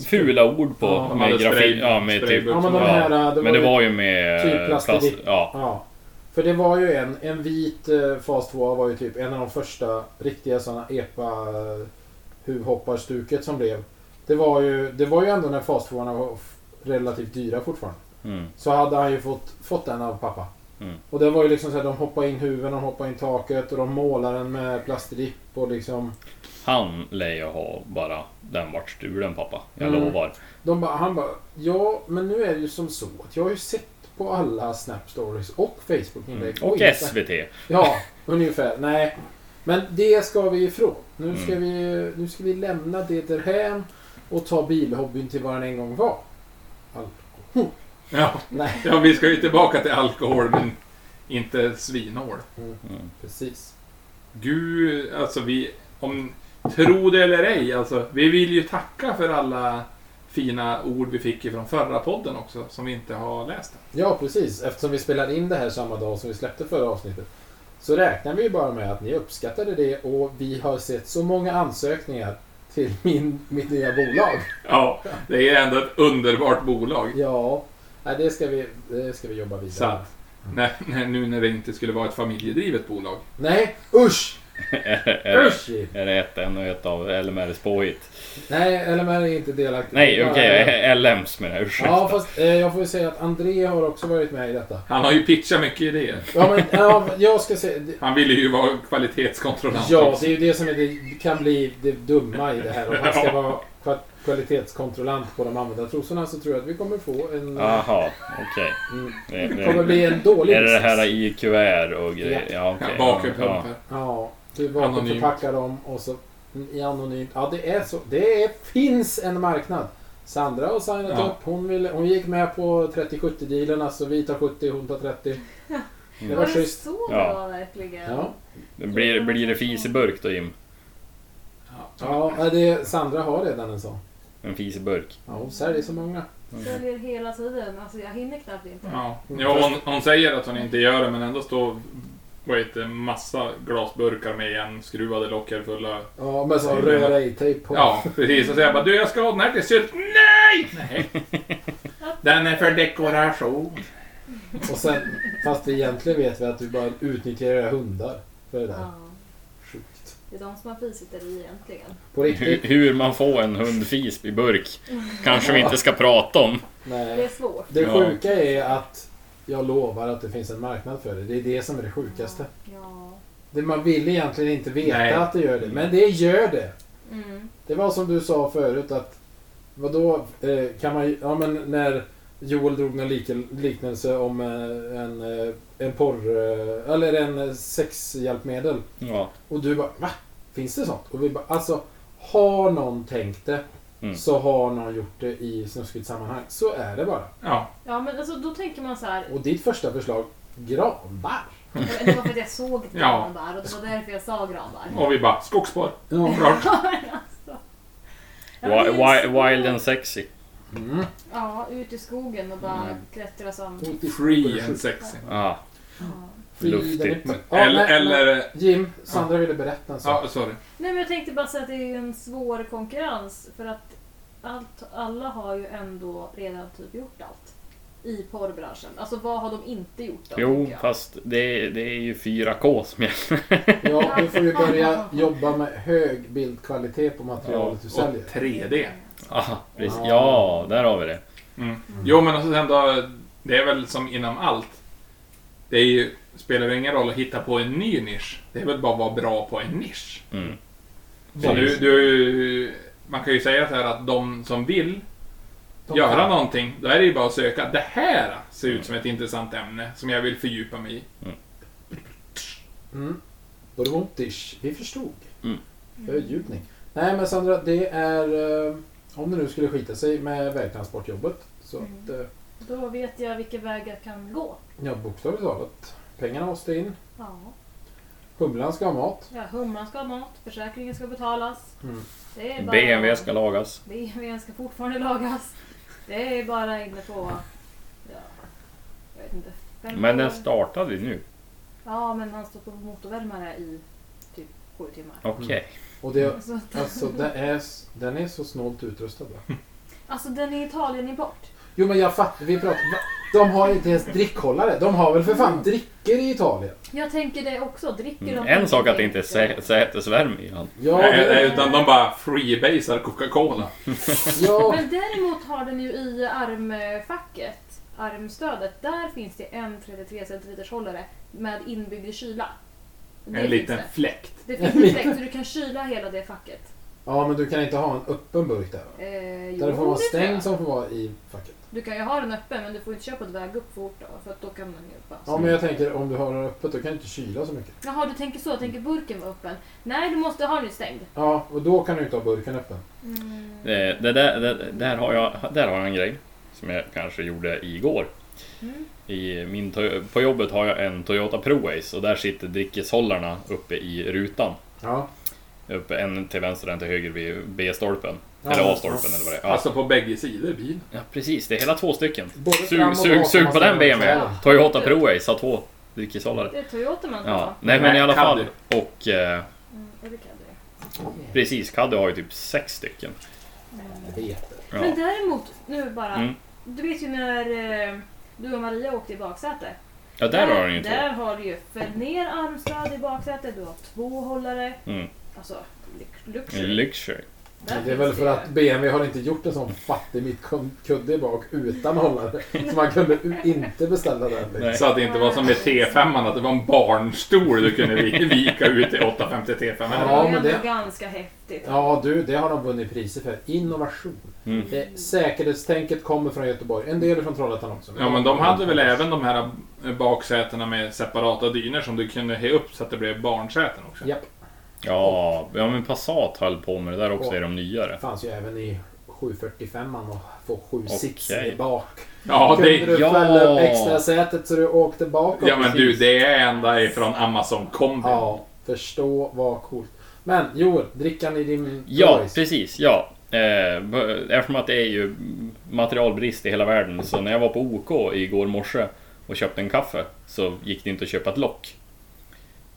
A: fula ord på.
B: Ja,
C: de
A: med
C: hade
A: grafik,
C: spray-
A: ja, med typ,
C: sprayburk
B: Ja men de
C: som-
B: här... äh, Det var
A: men det
B: ju...
A: var ju med
B: typ plastik.
A: ja.
B: Ja. För det var ju en, en vit eh, fas 2 var ju typ en av de första riktiga sådana epa eh, huvhopparstuket som blev. Det var ju, det var ju ändå när fas 2 var f- relativt dyra fortfarande.
A: Mm.
B: Så hade han ju fått, fått den av pappa.
A: Mm.
B: Och det var ju liksom såhär, de hoppade in huven, de hoppade in taket och de målade den med plastripp och liksom.
A: Han lär jag ha bara, den vart stulen pappa. Jag
B: Mm.
A: lovar.
B: De bara, han bara, ja men nu är det ju som så att jag har ju sett på alla Snap stories och Facebook-inlägg.
A: Mm. Och
B: Insta-
A: SVT.
B: Ja, ungefär. Nej. Men det ska vi ifrån. Nu ska,
A: Mm.
B: vi, nu ska vi lämna det därhän och ta bilhobbyn till vad den en gång var. Alkohol.
C: Ja,
B: Nej,
C: ja, vi ska ju tillbaka till alkohol men inte svinhål.
B: precis.
C: Gud, alltså vi... Om, tro det eller ej, alltså. Vi vill ju tacka för alla fina ord vi fick ifrån förra podden också, som vi inte har läst.
B: Ja, precis. Eftersom vi spelade in det här samma dag som vi släppte förra avsnittet så räknar vi ju bara med att ni uppskattade det och vi har sett så många ansökningar till min, mitt nya bolag.
C: Ja, det är ändå ett underbart bolag.
B: Ja, nej, det, ska vi, det ska vi jobba vidare
C: Så
B: med.
C: att, nej, nej, nu när det inte skulle vara ett familjedrivet bolag.
B: Nej, usch!
A: är, det,
B: Usch!
A: är det ett ännu ett av LMRs påhitt?
B: Nej, LMR är inte delaktig.
A: Nej, okej, LMs menar jag. Ursäkta.
B: Ja, fast eh, jag får ju säga att André har också varit med i detta.
C: Han har ju pitchat mycket idéer.
B: Ja, men ja, jag ska säga...
C: Han ville ju vara kvalitetskontrollant
B: Ja,
C: också.
B: det är ju det som är det, kan bli det dumma i det här. Om man ska vara kva- kvalitetskontrollant på de använda trosorna så tror jag att vi kommer få en...
A: Jaha, okej.
B: Mm.
A: Det-
B: Det kommer bli en dålig
A: Är det det här
B: business.
A: i kuvert och grejer? Ja,
C: Ja,
A: okej.
C: Vakuumpumpar.
B: Ja, du
C: Anonymt.
B: vakuumförpackar dem och så mm, i anonymt. Ja, det är så. Det är, finns en marknad. Sandra har signat
C: Ja.
B: upp. Hon, ville, hon gick med på 30-70 dealen, alltså vi tar 70, hon tar 30. Det var
E: Var det
B: schysst.
E: så
A: Ja.
E: bra verkligen?
B: Ja,
A: Ja. Blir, blir det fiseburk då Jim?
B: ja nej, det, Sandra har redan en sån.
A: En fiseburk?
B: Ja, hon säljer så många.
E: Säljer hela tiden. Alltså jag hinner knappt inte.
C: Ja, ja hon, hon säger att hon inte gör det, men ändå står vad heter, det, massa glasburkar med igenskruvade lockar fulla.
B: Ja, men så röra i tejp på.
C: Ja, precis. Och säger bara du, jag ska ha den här till sylt. Nej! Nej. Den är för dekoration.
B: Och sen, fast vi egentligen vet vi att du bara utnyttjar era hundar för det där.
E: Ja.
B: Sjukt.
E: Det är de som har fisit i egentligen.
B: På
A: Hur,
B: riktigt?
A: hur man får en hundfis i burk kanske vi inte ska prata om.
E: Det är
B: Nej.
E: svårt.
B: Det
A: Ja.
B: sjuka är att jag lovar att det finns en marknad för det. Det är det som är det sjukaste.
E: Ja.
B: Det man vill egentligen inte veta
C: Nej.
B: att det gör det, men det gör det.
E: Mm.
B: Det var som du sa förut att vadå eh, kan man ja men när Joel drog en liknelse om eh, en, eh, en porr eh, eller en eh, sexhjälpmedel
A: Ja.
B: och du bara va? Finns det sånt? Och vi bara alltså har någon tänkt det
A: Mm.
B: så har någon gjort det i snuskigt sammanhang. Så är det bara.
C: Ja,
E: Ja men alltså då tänker man så här.
B: Och ditt första förslag granbar.
E: Det var för att jag såg
C: Ja.
E: granbar och det var därför jag sa granbar.
C: och vi bara skogsborr.
B: Ja.
C: Klart.
E: alltså. Ja, men
A: Wi-
E: det är
A: wi-
E: svårt.
A: Wild and sexy.
B: Mm.
E: Ja, ut i skogen och bara klättra som...
C: Free and sexy.
A: Ah,
E: Ja.
A: luftigt.
B: Ja,
C: Eller,
B: men-
C: eller
B: Jim, Sandra ville berätta en sak.
C: ja, sorry.
E: Nej men jag tänkte bara säga att det är en svår konkurrens för att allt, alla har ju ändå redan typ gjort allt. I porrbranschen. Alltså vad har de inte gjort då?
A: Jo,
E: tänker jag?
A: fast det, det är ju 4K som gäller.
B: Ja, du får ju börja jobba med hög bildkvalitet på materialet du
C: Och
B: säljer.
C: 3D.
E: Mm.
A: Ah, precis. Ja, där har vi det.
C: Mm. Jo, men alltså sen då, det är väl som inom allt. Det är ju, spelar ju ingen roll att hitta på en ny nisch. Det är väl bara att vara bra på en nisch.
A: Mm.
C: Så du,
A: Precis.
C: du, man kan ju säga så här att de som vill
B: De
C: göra
B: kan.
C: någonting, då är det ju bara att söka. Det här ser ut som ett intressant ämne som jag vill fördjupa mig i.
B: Mm. Boromotish. Vi förstod.
A: Mm.
B: Fördjupning. Nej men Sandra, det är... eh, Om det nu skulle skita sig med vägtransportjobbet. Så
E: Mm.
B: att... eh,
E: Då vet jag vilka vägar jag kan gå.
B: Ja, bokstavligt talat. Pengarna måste in.
E: Ja.
B: Humlan ska ha mat.
E: ja humlan ska ha mat, försäkringen ska betalas.
B: Mm.
E: Det är bara...
A: BMW ska lagas.
E: BMWn ska fortfarande lagas. Det är bara inne på... Ja, jag vet inte. Fem
A: Men
E: år.
A: den startade ju nu.
E: Ja, men han står på motorvärmare i typ sju timmar.
A: Okej.
B: Och det...
E: Så att-
B: Alltså den är, s- den är så snålt utrustad va?
E: Alltså den är Italien-import.
B: Jo men jag fattar, vi pratar... va? De har inte ens drickhållare. De har väl för fan drickor i Italien?
E: Jag tänker det också. Dricker de...
A: Mm. En sak att det inte är sä- sätesvärme i den.
B: Ja,
C: Nej,
B: det-
C: nej, Eh, utan de bara freebasar Coca-Cola.
B: ja.
E: Men däremot har den ju i armfacket, armstödet, där finns det en 33 centiliters hållare med inbyggd kyla. Det
B: Mm.
C: En
E: finns
C: liten
E: det.
C: fläkt.
E: Det finns en fläkt så du kan kyla hela det facket.
B: Ja, men du kan inte ha en öppen burk där. va?
E: Eh, jo,
B: Där det får vara
E: det tror jag.
B: stängd som får vara i facket.
E: Du kan ju ha den öppen men du får inte köra på ett väg upp fort då, för att då kan den ju öppnas.
B: Ja, men jag tänker om du har den öppet då kan du inte kyla så mycket.
E: Jaha, du tänker så? Jag tänker burken vara öppen? Nej, du måste ha den ju stängd.
B: Ja, och då kan du inte ha burken öppen.
E: Mm.
A: Eh, Det där, det, där, har jag, där har jag en grej som jag kanske gjorde igår.
E: Mm.
A: I min, to- på jobbet har jag en Toyota ProAce och där sitter dryckeshållarna uppe i rutan.
B: Ja.
A: Uppe, en till vänster och en till höger vid B-stolpen.
B: Ja,
A: eller
B: men-
A: A-stolpen eller vad det är. Ja.
C: Alltså på bägge sidor bil.
A: ja, precis. Det är hela två stycken.
B: Både fram
A: Sug,
B: och
A: sug,
B: bak
A: sug
B: om
A: på
B: man
A: den
B: ställer
A: BMWn.
B: sig.
A: Toyota ProAce har två dryckeshållare.
E: Det är Toyota man ska
A: Ja.
E: ha.
A: Nej men i alla
C: Nej,
A: fall.
C: Caddy.
A: Och eh,
E: Mm, eller Caddy.
A: Precis, Kadde har ju typ sex stycken.
B: Jag vet det.
A: Ja.
E: Men däremot, nu bara.
A: Mm.
E: Du vet ju när eh, du och Maria åkte i baksäte.
A: Ja, där har den ju två.
E: Där har du ju fällt ner armstöd i baksätet, du har två hållare.
A: Mm.
E: Alltså, lux- luxury.
A: Luxury.
E: Där
B: Det är
E: finns
B: väl för
E: ju-
B: att BMW har inte gjort en sån fattig mittkudde bak utan hållare. Så man kunde u- inte beställa den. liksom.
A: Nej.
C: Så att det inte var som med T5, att det var en barnstol du kunde vi- vika ut i 850
E: Det
C: T5.
E: var
B: Ja,
E: ju
B: men
E: ändå
B: det-
E: ganska häftigt.
B: Ja du, det har de vunnit priser för. Innovation.
A: Mm.
B: Det, säkerhetstänket kommer från Göteborg. En del är från Trollhättan också.
C: Ja, men de hade väl även de här eh, baksätena med separata dyner som du kunde he upp så att det blev barnsäten också.
B: Japp,
A: Ja, ja, men Passat höll på med det där också i de nyare.
B: fanns ju även i 745 och få sju
A: Okej.
B: sits i bak.
C: Ja,
B: kunde
C: det,
B: du
A: ja.
B: fälla upp extra sätet så du åkte bakåt.
C: ja men du, det är ända ifrån Amazon kombi.
B: Ja, förstå vad coolt. Men Joel, drickan i din
A: Ja,
B: Royce.
A: precis. Ja. Eh, b- Eftersom att det är ju materialbrist i hela världen så när jag var på OK igår morse och köpte en kaffe så gick det inte att köpa ett lock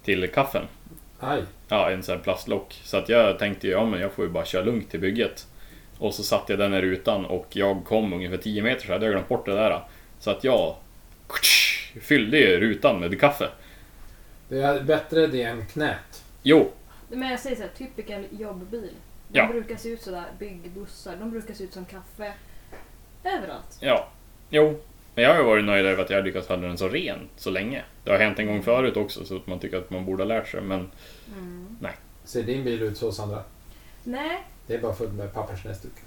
A: till kaffen.
B: Aj.
A: Ja, en sån här plastlock. Så att jag tänkte ju, ja men jag får ju bara köra lugnt till bygget. Och så satte jag den i rutan och jag kom ungefär 10 meter så hade jag glömt bort det där. Så att jag fyllde ju rutan med kaffe.
B: Det är bättre det än knät.
A: Jo,
E: Men jag säger såhär, typical jobbbil. De
A: Ja.
E: brukar se ut sådär, byggbussar, de brukar se ut som kaffe. Överallt.
A: Ja, jo. Men jag har ju varit nöjd över att jag har lyckats hålla den så ren så länge. Det har hänt en gång förut också så att man tycker att man borde ha lärt sig men
B: Ser din bil ut så Sandra?
E: Nej,
B: Det är bara fullt med pappersnäsdukar.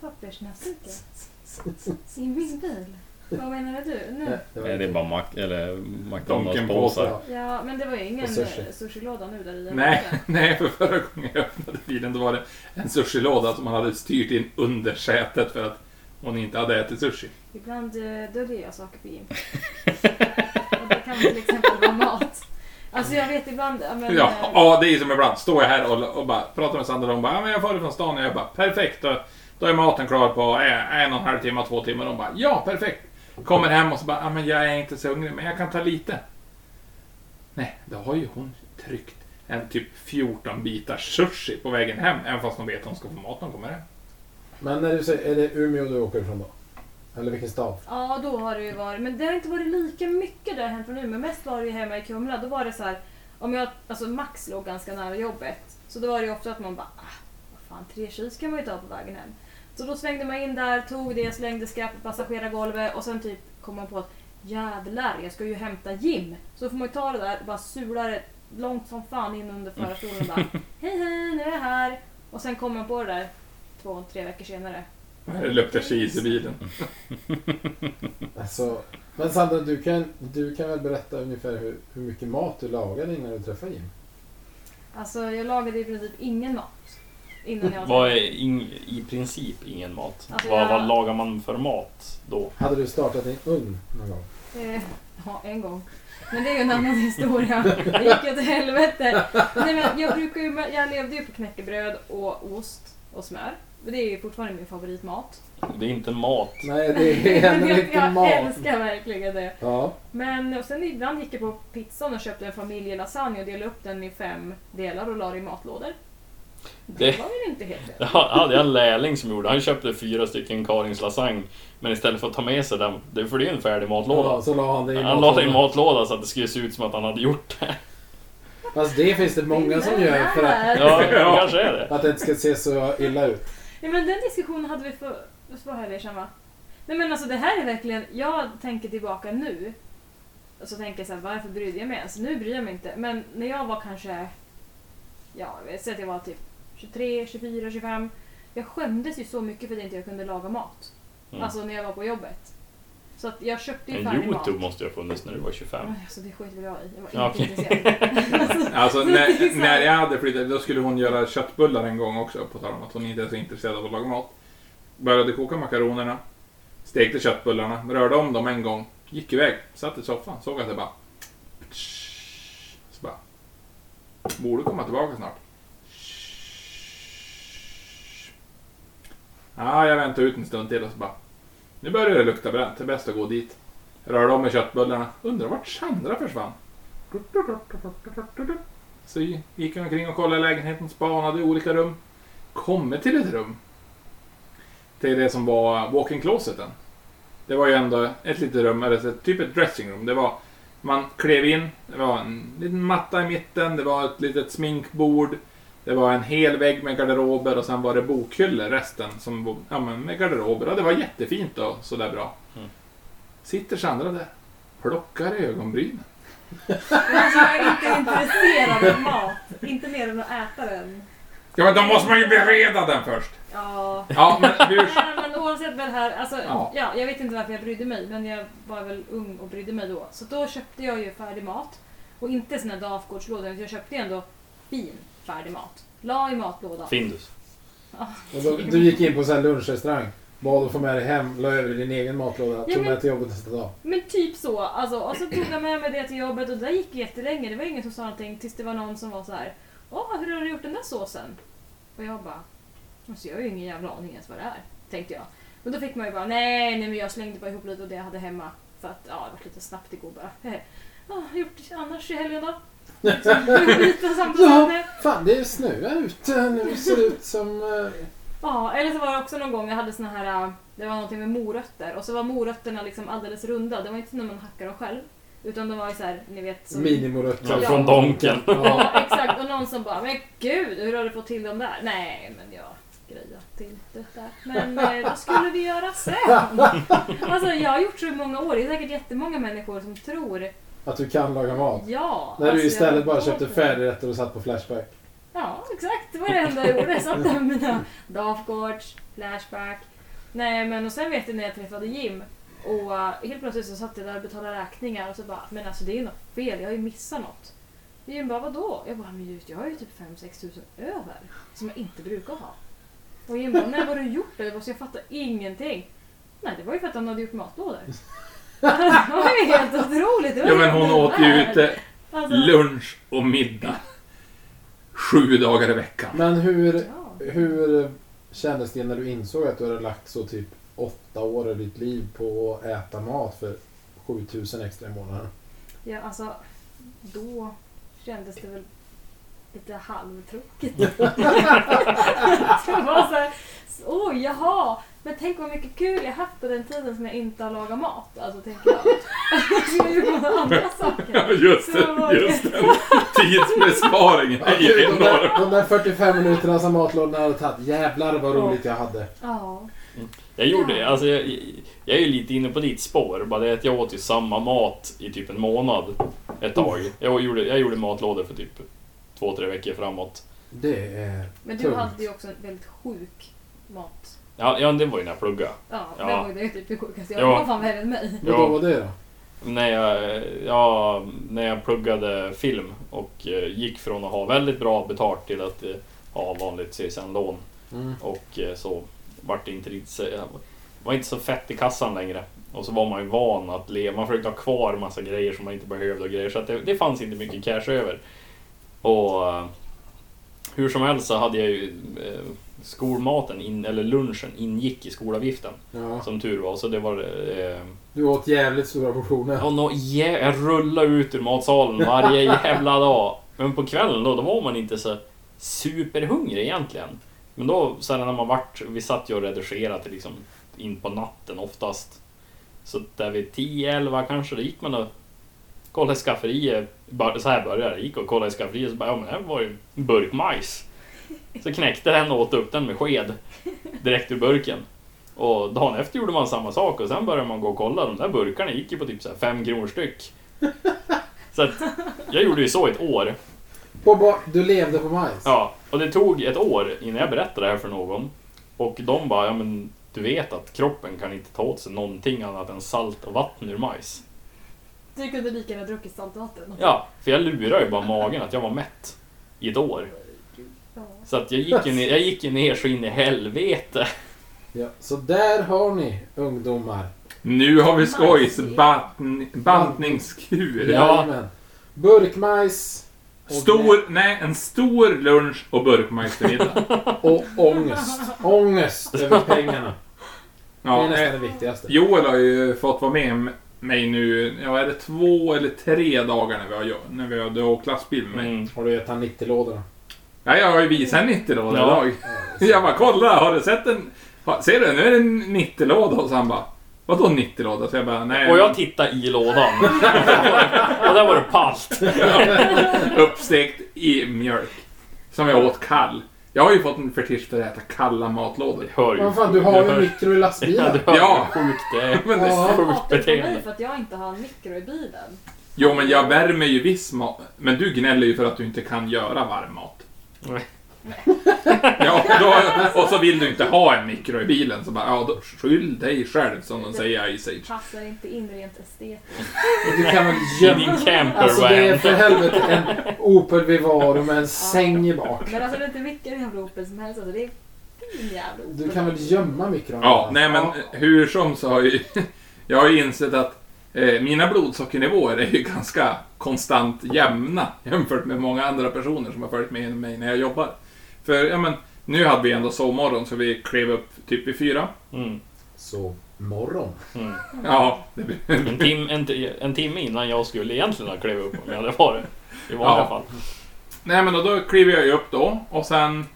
E: pappersnäsdukar. I min bil. Vad menar du nu?
B: Det var
A: nej, det är
B: inte-
A: bara Mac- eller McDonalds-påsar.
C: Donken-påsar.
E: Ja, men det var ju ingen
B: Och sushi.
E: eh, sushilåda nu där i.
C: Nej, nej, för förra gången jag öppnade bilen då var det en sushilåda som man hade styrt in under sätet för att hon inte hade ätit sushi.
E: Ibland eh, döljer jag saker på gym. Och det kan till exempel vara mat. Alltså jag vet ibland... ja, Men,
C: Ja,
E: eh,
C: ja, det är som ibland. Står jag här och, och bara pratar med Sandra och hon bara ja, men jag får det från stan och jag bara perfekt. Då, då är maten klar på eh, en och en halv timme, två timmar. Och hon bara ja, perfekt. Kommer hem och så bara ja, men jag är inte så hungrig men jag kan ta lite. Nej, då har ju hon tryckt en typ 14 bitars sushi på vägen hem. Även fast hon vet att hon ska få mat när hon kommer hem.
B: Men när du säger, är det Umeå du åker ifrån då? Eller vilken stad?
E: Ja, då har det ju varit. Men det har inte varit lika mycket där hem från Umeå. Mest var det ju hemma i Kumla. Då var det så här, om jag, alltså Max låg ganska nära jobbet. Så då var det ju ofta att man bara, ah, vad fan, tre kis kan man ju ta på vägen hem. Så då svängde man in där, tog det, slängde skräp på passagerargolvet och sen typ kom man på att jävlar, jag ska ju hämta Jim. Så får man ju ta det där och bara sula det långt som fan in under förarstolen och bara, hej hej, nu är jag här. Och sen kom man på det där två, tre veckor senare.
C: Det luktar cheese i bilen.
B: Alltså, men Sandra, du kan, du kan väl berätta ungefär hur, hur mycket mat du lagade innan du träffade Jim?
E: Alltså jag lagade i princip ingen mat. Innan jag
A: Vad är i princip ingen mat?
E: Alltså, Vad- jag- vad
A: lagar man för mat då?
B: Hade du startat din ugn någon gång?
E: Eh, Ja, en gång. Men det är ju en annan historia. Det gick ju till helvete. Nej, men jag, brukar ju, jag levde ju på knäckebröd och ost och smör. Men det är ju fortfarande min favoritmat.
A: Det är inte mat.
B: Nej, det är
E: Men
B: en
E: jag,
B: riktig
E: jag
B: mat.
E: älskar verkligen det.
B: Ja,
E: Men och sen ibland gick jag på pizzan och köpte en familjelasagne och delade upp den i fem delar och la det i matlådor. Det
A: Det-
E: var väl inte helt rätt?
A: Jag hade en lärling som gjorde. Han köpte fyra stycken Karins lasagne. Men istället för att ta med sig den, det är för det är en färdig
B: ja,
A: matlåda.
B: så la han det i
A: Han la det i
B: matlådan.
A: matlåda så att det skulle se ut som att han hade gjort det.
B: Fast det finns det många som gör för att,
A: Ja, det kanske är det.
B: att det inte ska se så illa ut.
E: Ja, men den diskussionen hade vi för två helger sedan va? Nej men alltså det här är verkligen, jag tänker tillbaka nu. Och så tänker jag så här, varför brydde jag mig ens? Nu bryr jag mig inte. Men när jag var kanske, ja jag säger att jag var typ 23, 24, 25. Jag skämdes ju så mycket för att inte jag kunde laga mat.
A: Mm.
E: Alltså när jag var på jobbet. Så att jag köpte ju
A: Men
E: färdig mat.
A: Youtube måste ju ha funnits när du var 25.
E: Aj, Alltså det skiter väl jag i. Jag var inte
A: Ja, okej.
E: intresserad. alltså,
C: Alltså
E: det är
C: när,
E: så här-
C: när jag hade flyttat, då skulle hon göra köttbullar en gång också, på tal om att hon inte är så intresserad av att laga mat. Började koka makaronerna, stekte köttbullarna, rörde om dem en gång, gick iväg, satt i soffan, såg att det bara... Så bara... Borde komma tillbaka snart. Ja, jag väntade ut en stund till och så bara... Nu börjar det lukta bränt, det är bäst att gå dit. Rörde om med köttbullarna, undrar vart Sandra försvann. Så gick jag omkring och kollade lägenheten, spanade i olika rum. Kommer till ett rum. Till det som var walk-in closeten. Det var ju ändå ett litet rum, eller så- typ ett dressingrum. Det var, man klev in, det var en liten matta i mitten, det var ett litet sminkbord. Det var en hel vägg med garderober och sen var det bokhyllor resten som var, ja, men med garderober. Och det var jättefint och sådär bra.
A: Mm.
C: Sitter Sandra där, plockar i ögonbrynen.
E: Alltså, jag är inte intresserad av mat. Inte mer än att äta den.
C: Ja, men då måste man ju bereda den först!
E: Ja.
C: Ja, men hur...
E: Nej, men oavsett vad det här, alltså,
C: Ja.
E: ja. jag vet inte varför jag brydde mig, men jag var väl ung och brydde mig då. Så då köpte jag ju färdig mat. Och inte sån här Dafgårdslådor, utan jag köpte ändå fin färdig mat. La i matlådan.
A: Findus.
B: Och då- Du gick in på en lunchrestaurang. Bad att få med dig hem, la över i din egen matlåda,
E: Ja,
B: tog
E: men-
B: med till jobbet nästa dag.
E: Men typ så. Alltså, och så tog jag med mig det till jobbet och det där gick jättelänge. Det var ingen som sa någonting tills det var någon som var så här. Åh, hur har du gjort den där såsen? Och jag bara. Alltså, jag har ju ingen jävla aning ens vad det är. Tänkte jag. Men då fick man ju bara. Nej, nej men jag slängde bara ihop lite av det jag hade hemma. För att ja, det var lite snabbt igår bara. Ja, gjort annars i helgen då? Lite samtidigt.
B: Ja, fan det är snö ute nu. Det ser ut som... eh,
E: Ja, eller så var det också någon gång jag hade såna här, äh, det var någonting med morötter och så var morötterna liksom alldeles runda. Det var inte när man hackar dem själv. Utan de var ju såhär, ni vet. som-
B: Minimorötter.
E: Ja, från
A: Donken.
B: Ja.
E: Ja, exakt. Och någon som bara, men gud, hur har du fått till dem där? Nej, men jag grejat inte där. Men eh, vad skulle vi göra sen? Alltså jag har gjort så i många år, det är säkert jättemånga människor som tror,
B: Att du kan laga mat.
E: ja.
B: När du
E: alltså,
B: istället
E: jag-
B: bara köpte färdigrätter och satt på Flashback.
E: Ja, exakt. Det var det enda jag gjorde. Jag satt där med mina Dafgårds, Flashback. Nej, men och sen vet jag när jag träffade Jim och eh, helt plötsligt så satt jag där och betalade räkningar och så bara, men alltså det är ju något fel, jag har ju missat något. Jim bara, vadå? Jag bara, men just, jag har ju typ 5-6 tusen över som jag inte brukar ha. Och Jim bara, nej vad har du gjort det? Så jag fattar ingenting. Nej, det var ju för att han hade gjort matlådor. det var ju helt otroligt. Det var
C: Ja, men hon
E: helt
C: åt ju
E: värd.
C: ute
E: Alltså,
C: lunch och middag. Sju dagar i veckan.
B: Men hur,
E: ja.
B: hur kändes det när du insåg att du hade lagt så typ åtta år av ditt liv på att äta mat för 7000 extra i månaden?
E: Ja, alltså då kändes det väl lite halvtråkigt. det var så här, oj, jaha, men tänk vad mycket kul jag haft på den tiden som jag inte har lagat mat. Alltså tänker jag. Jag har gjort några andra saker.
C: Ja, just det. Just det. Tidsbesparingen
B: Ja,
C: är
B: gud, de,
C: enorm.
B: där, de där 45 minuterna som matlådorna hade tagit. Jävlar vad roligt jag hade.
E: Ja,
A: Jag gjorde det. Alltså, jag, jag är ju lite inne på ditt spår. Bara det att jag åt ju samma mat i typ en månad. Ett tag. Jag gjorde, jag gjorde matlådor för typ två, tre veckor framåt.
B: Det är...
E: men du
B: tungt.
E: hade ju också en väldigt sjuk mat.
A: Ja, ja det var ju när jag pluggade.
E: Ja,
A: Ja.
E: det var ju det typ det sjukaste. Jag
A: Ja.
E: var fan värre än mig.
B: Vad då var det då?
A: När jag, ja, när jag pluggade film och eh, gick från att ha väldigt bra betalt till att eh, ha vanligt CSN-lån.
B: Mm.
A: Och eh, så vart det inte riktigt så- var inte så fett i kassan längre. Och så var man ju van att leva, man försökte ha kvar massa grejer som man inte behövde och grejer. Så att det, det fanns inte mycket cash över. Och eh, hur som helst så hade jag ju eh, skolmaten, in, eller lunchen, ingick i skolavgiften.
B: Ja.
A: Som tur var. Så det var... Eh,
B: Du åt jävligt stora portioner.
A: och nå, jä- jag rullade ut ur matsalen varje jävla dag. Men på kvällen då, då var man inte så superhungrig egentligen. Men då, sen när man vart, vi satt ju och redigerade till liksom in på natten oftast. Så där vid 10-11 kanske, då gick man och kollade i skafferiet. Bara- Så här började det, gick och kollade i skafferiet så bara, ja men det här var ju en burk majs. Så knäckte den och åt upp den med sked. Direkt ur burken. Och dagen efter gjorde man samma sak och sen började man gå och kolla. De där burkarna gick ju på typ 5 kronor styck. Så att jag gjorde ju så ett år.
B: På ba- du levde på majs?
A: Ja, och det tog ett år innan jag berättade det här för någon. Och de bara, ja men du vet att kroppen kan inte ta åt sig någonting annat än salt och vatten ur majs.
E: Du kunde lika gärna druckit saltvatten.
A: Ja, för jag lurade ju bara magen att jag var mätt. I ett år.
E: Ja.
A: Så att jag gick ju ner, jag gick ju ner så in i helvete.
B: Ja, så där har ni ungdomar.
C: Nu har vi skojs bantn- bantningskur.
A: Ja.
B: Jajamän. Burkmajs och
C: Stor, nej, en stor lunch och burkmajs till middag.
B: Och ångest. Ångest över pengarna. Det är
C: Ja,
B: nästan
C: eh,
B: det viktigaste.
C: Joel har ju fått vara med om mig nu, ja är det två eller tre dagar när vi har, när vi hade åkt lastbil med mig.
F: Mm.
B: Har du gett han 90-lådorna?
C: Ja, jag har ju visat en 90 låda
F: Ja.
C: idag. Jag bara, kolla, har du sett en... ha- Ser du, nu är det en 90 låda och så han bara, vadå 90 låda? Så jag bara, nej.
A: Och jag tittade i lådan. och där var det pallt.
C: Uppstekt i mjölk. Som jag åt kall. Jag har ju fått en fetisch för att äta kalla matlådor.
A: Hör ju.
B: Men fan, du
A: Jag
B: har ju
A: hör-
B: mikro i
A: Ja,
B: lastbilen.
A: du hör
C: Ja.
A: ja. hur sjukt det är.
C: Men det,
B: Ja.
E: Han
A: Sjukt
E: hatar på
A: beteende.
E: mig för att jag inte har en mikro i bilen.
C: jo, men jag värmer ju viss mat. Men du gnäller ju för att du inte kan göra varm mat.
A: Nej.
C: Ja, då, och så vill du inte ha en mikro i bilen. Så bara, ja, då, skyll dig själv som de säger i Ice Age.
E: Passar inte in rent estetiskt.
B: Du kan väl
A: I
B: gömma...
A: din camper
B: Alltså det är
A: van.
B: för helvete en Opel Vivaro med en säng i bak.
E: Men alltså det är inte vilken jävla Opel som helst. Alltså, det är fin jävla Opel.
B: Du kan väl gömma mikron?
C: Ja, nej men hur som så har ju, jag har ju insett att eh, mina blodsockernivåer är ju ganska konstant jämna jämfört med många andra personer som har följt med mig när jag jobbar. För ja, men, nu hade vi ändå sovmorgon så vi klev upp typ i fyra.
A: Mm.
B: Så morgon.
C: Ja, det blir-
A: En, tim, en, ti- en timme innan jag skulle egentligen ha klivit upp om jag hade varit. I vanliga
C: Ja.
A: fall.
C: nej men och då kliver jag ju upp då och sen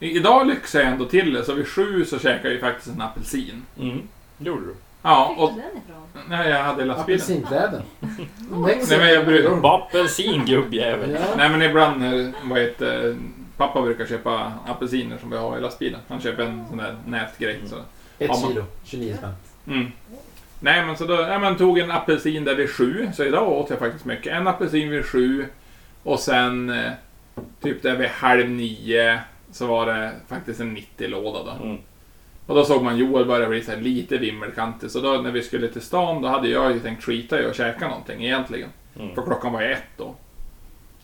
C: i- Idag lyxade jag ändå till det, så vid sju så käkade jag ju faktiskt en apelsin.
A: Mm. Gjorde du.
C: Ja,
E: Var
C: och...
E: fick du den ifrån?
C: Nej, jag hade lastbilen.
B: Apelsinkläden.
C: Nej, men jag bryr-
A: Bappelsin gubbjävel.
B: Ja.
C: Nej men ibland, eh, vad heter eh, Pappa brukar köpa apelsiner som vi har i lastbilen. Han köper en sån där nätgrej. Så.
B: Ett kilo, 29 spänn.
C: Mm. Nej men så då, ja, men tog en apelsin där vid sju, så idag åt jag faktiskt mycket. En apelsin vid sju och sen eh, typ där vid halv nio så var det faktiskt en 90-låda då.
A: Mm.
C: Och då såg man Joel börja bli så här lite vimmelkantig, så då när vi skulle till stan då hade jag ju tänkt skita i och käka någonting egentligen.
A: Mm.
C: För klockan var ju ett då.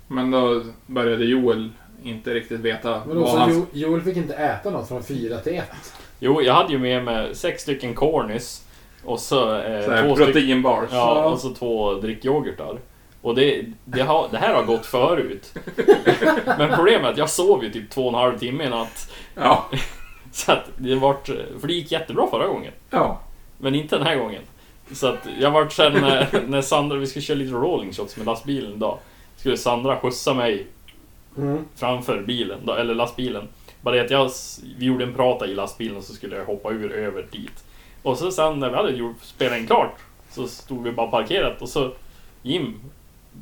C: Men då började Joel inte riktigt veta
B: Men då
C: vad
B: så
C: han...
B: jo, Joel fick inte äta något från 4 till 1.
A: Jo, jag hade ju med mig sex stycken cornies. Och så, eh,
C: Så här,
A: två stycken
C: proteinbars.
A: Ja, och så två drickyoghurtar. Och det, det, har, det här har gått förut. Men problemet är att jag sov ju typ två och en halv timme i natt.
C: Ja.
A: Så att det vart, för det gick jättebra förra gången.
C: ja.
A: Men inte den här gången. Så att jag vart sen när, när Sandra, vi skulle köra lite rolling shots med lastbilen idag. Skulle Sandra skjutsa mig
B: Mm.
A: framför bilen, då, eller lastbilen. Bara det att jag, s- vi gjorde en prata i lastbilen och så skulle jag hoppa ur över dit. Och så sen när vi hade gjort, spelat in klart så stod vi bara parkerat och så Jim,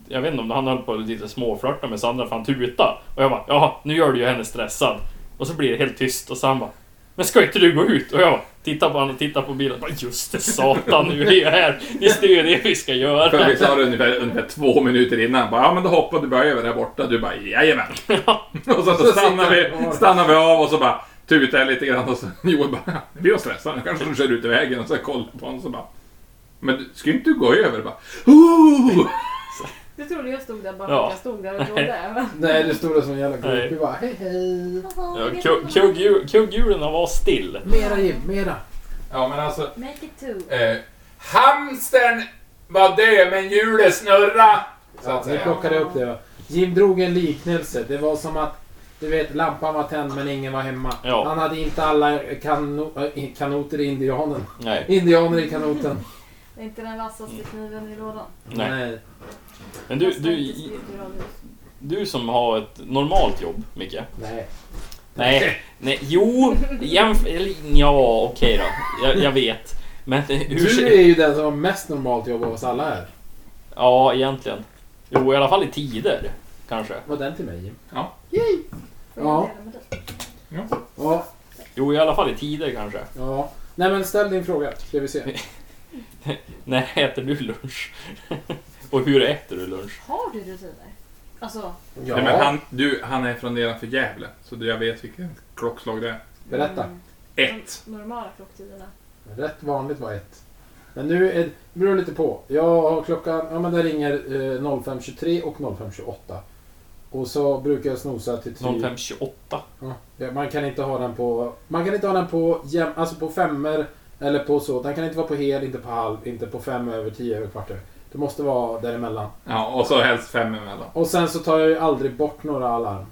A: jag vet inte om han höll på lite småflörta med Sandra för han tuta Och jag bara, ja nu gör du ju henne stressad. Och så blir det helt tyst och så han bara, men ska inte du gå ut? Och jag bara, tittar på honom och tittar på bilen. Bara, Just det, satan nu är jag här. Just det, det är det vi ska
C: För
A: göra.
C: vi sa det ungefär, ungefär två minuter innan. Bara, ja men då hoppade du bara över där borta. Du bara jajamän. och så, så stannar, vi, stannar vi av och så bara tutar jag lite grann och så Joel bara vi var stressade. Nu kanske de kör ut i vägen och så kollar på honom och så bara men du, ska inte du gå över? Bara, "Ooh!"
E: Du trodde jag stod där bara
A: Ja.
E: för att jag stod där och grådde.
B: Nej, du stod där som en jävla
A: Nej.
B: groupie bara hej hej.
A: Ja, kugg- kugghjul- Kugghjulen var still.
B: Mera Jim, mera.
C: Ja men alltså.
E: Make it two.
C: Eh, hamstern var död men hjulet snurra. Så
B: Ja,
C: att
B: nu
C: säga.
B: plockade jag upp det. va. Jim drog en liknelse. Det var som att du vet, lampan var tänd men ingen var hemma.
A: Ja.
B: Han hade inte alla kano äh, kanoter i indianen.
A: Nej,
B: Indianer i kanoten.
E: Det är inte den vassaste kniven i lådan.
A: Nej. men du,
E: Fast
A: du,
E: inte skrivet i radhus.
A: Du som har ett normalt jobb, Micke.
B: Nej.
A: Nej, nej jo, jämf- eller, Ja, okej då. Jag, jag vet. Men hur...
B: Du är ju den som har mest normalt jobb av oss alla här.
A: Ja, egentligen. Jo, i alla fall i tider. Kanske.
B: Var den till mig Jim?
C: Ja.
B: Yay!
E: Får jag
B: Ja.
E: dela med dig?
B: Ja,
A: Jo, i alla fall i tider kanske.
B: ja. Nej men ställ din fråga, ska vi se.
A: När äter du lunch? Och hur äter du lunch?
E: Har du rutiner? Alltså,
B: Ja,
C: Nej, men han, du, han är från nedanför Gävle, så jag vet vilket klockslag det är.
B: berätta.
E: mm,
C: Ett.
E: De normala klocktiderna.
B: Rätt vanligt var ett. Men nu är, det beror lite på. Jag har klockan, ja men det ringer eh, 05.23 och 05.28. Och så brukar jag snosa till typ...
A: 05.28.
B: Ja, Ja, man kan inte ha den på... Man kan inte ha den på, jäm, alltså på femmer eller på så. Den kan inte vara på hel, inte på halv, inte på fem över, tio över, kvart över. Det måste vara däremellan.
C: Ja, och så helst fem emellan.
B: Och sen så tar jag ju aldrig bort några alarm.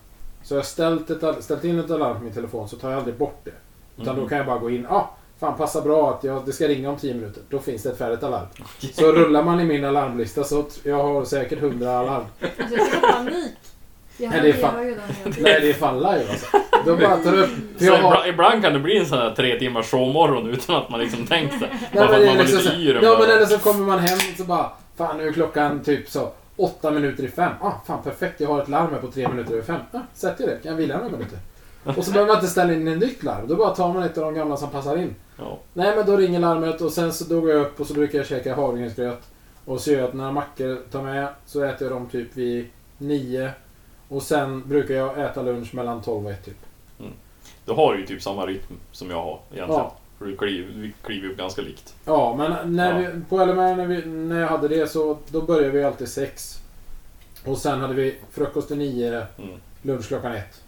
B: Så jag har ställt, ett, al- ställt in ett alarm på min telefon så tar jag aldrig bort det. Utan då kan jag bara gå in, ah, Fan, passar bra att jag, det ska ringa om 10 minuter. Då finns det ett färdigt alarm. Så rullar man i min alarmlista så t- jag har säkert 100 alarm.
E: Alltså jag fick panik. Jag
B: Nej, det
E: hade-
B: är
E: jag
B: fan-
E: var ju den igen.
B: Nej, det är fan live alltså. Då bara tar jag upp... för
G: Så
B: jag har-
G: ibland, ibland kan det bli en sån här tre timmars showmorgon utan att man liksom tänkt det.
B: Nej,
G: Bara för att
B: men det
G: man
B: är
G: var
B: liksom
G: lite
B: så,
G: yr och
B: ja,
G: bara-
B: men eller så kommer man hem och så bara... Fan, nu är klockan typ så åtta minuter i fem. Ah, fan perfekt, jag har ett larm här på tre minuter över fem. Ah, sätter jag det? Kan jag vila några minuter? Och så behöver man inte ställa in ett nytt larm. Då bara tar man ett av de gamla som passar in.
G: Ja.
B: Nej, men då ringer larmet och sen så då går jag upp och så brukar jag käka havregrynsgröt. Och så gör jag att några mackor tar med, så äter jag dem typ vid nio. Och sen brukar jag äta lunch mellan 12 och 1 typ.
G: Då har du ju typ samma rytm som jag har egentligen.
B: Ja.
G: För du kliver, vi kliver upp ganska likt.
B: Ja, men när
G: Ja.
B: vi, på LMR när, vi, när jag hade det så då började vi alltid sex. Och sen hade vi frukost till nio,
G: Mm.
B: lunch klockan ett.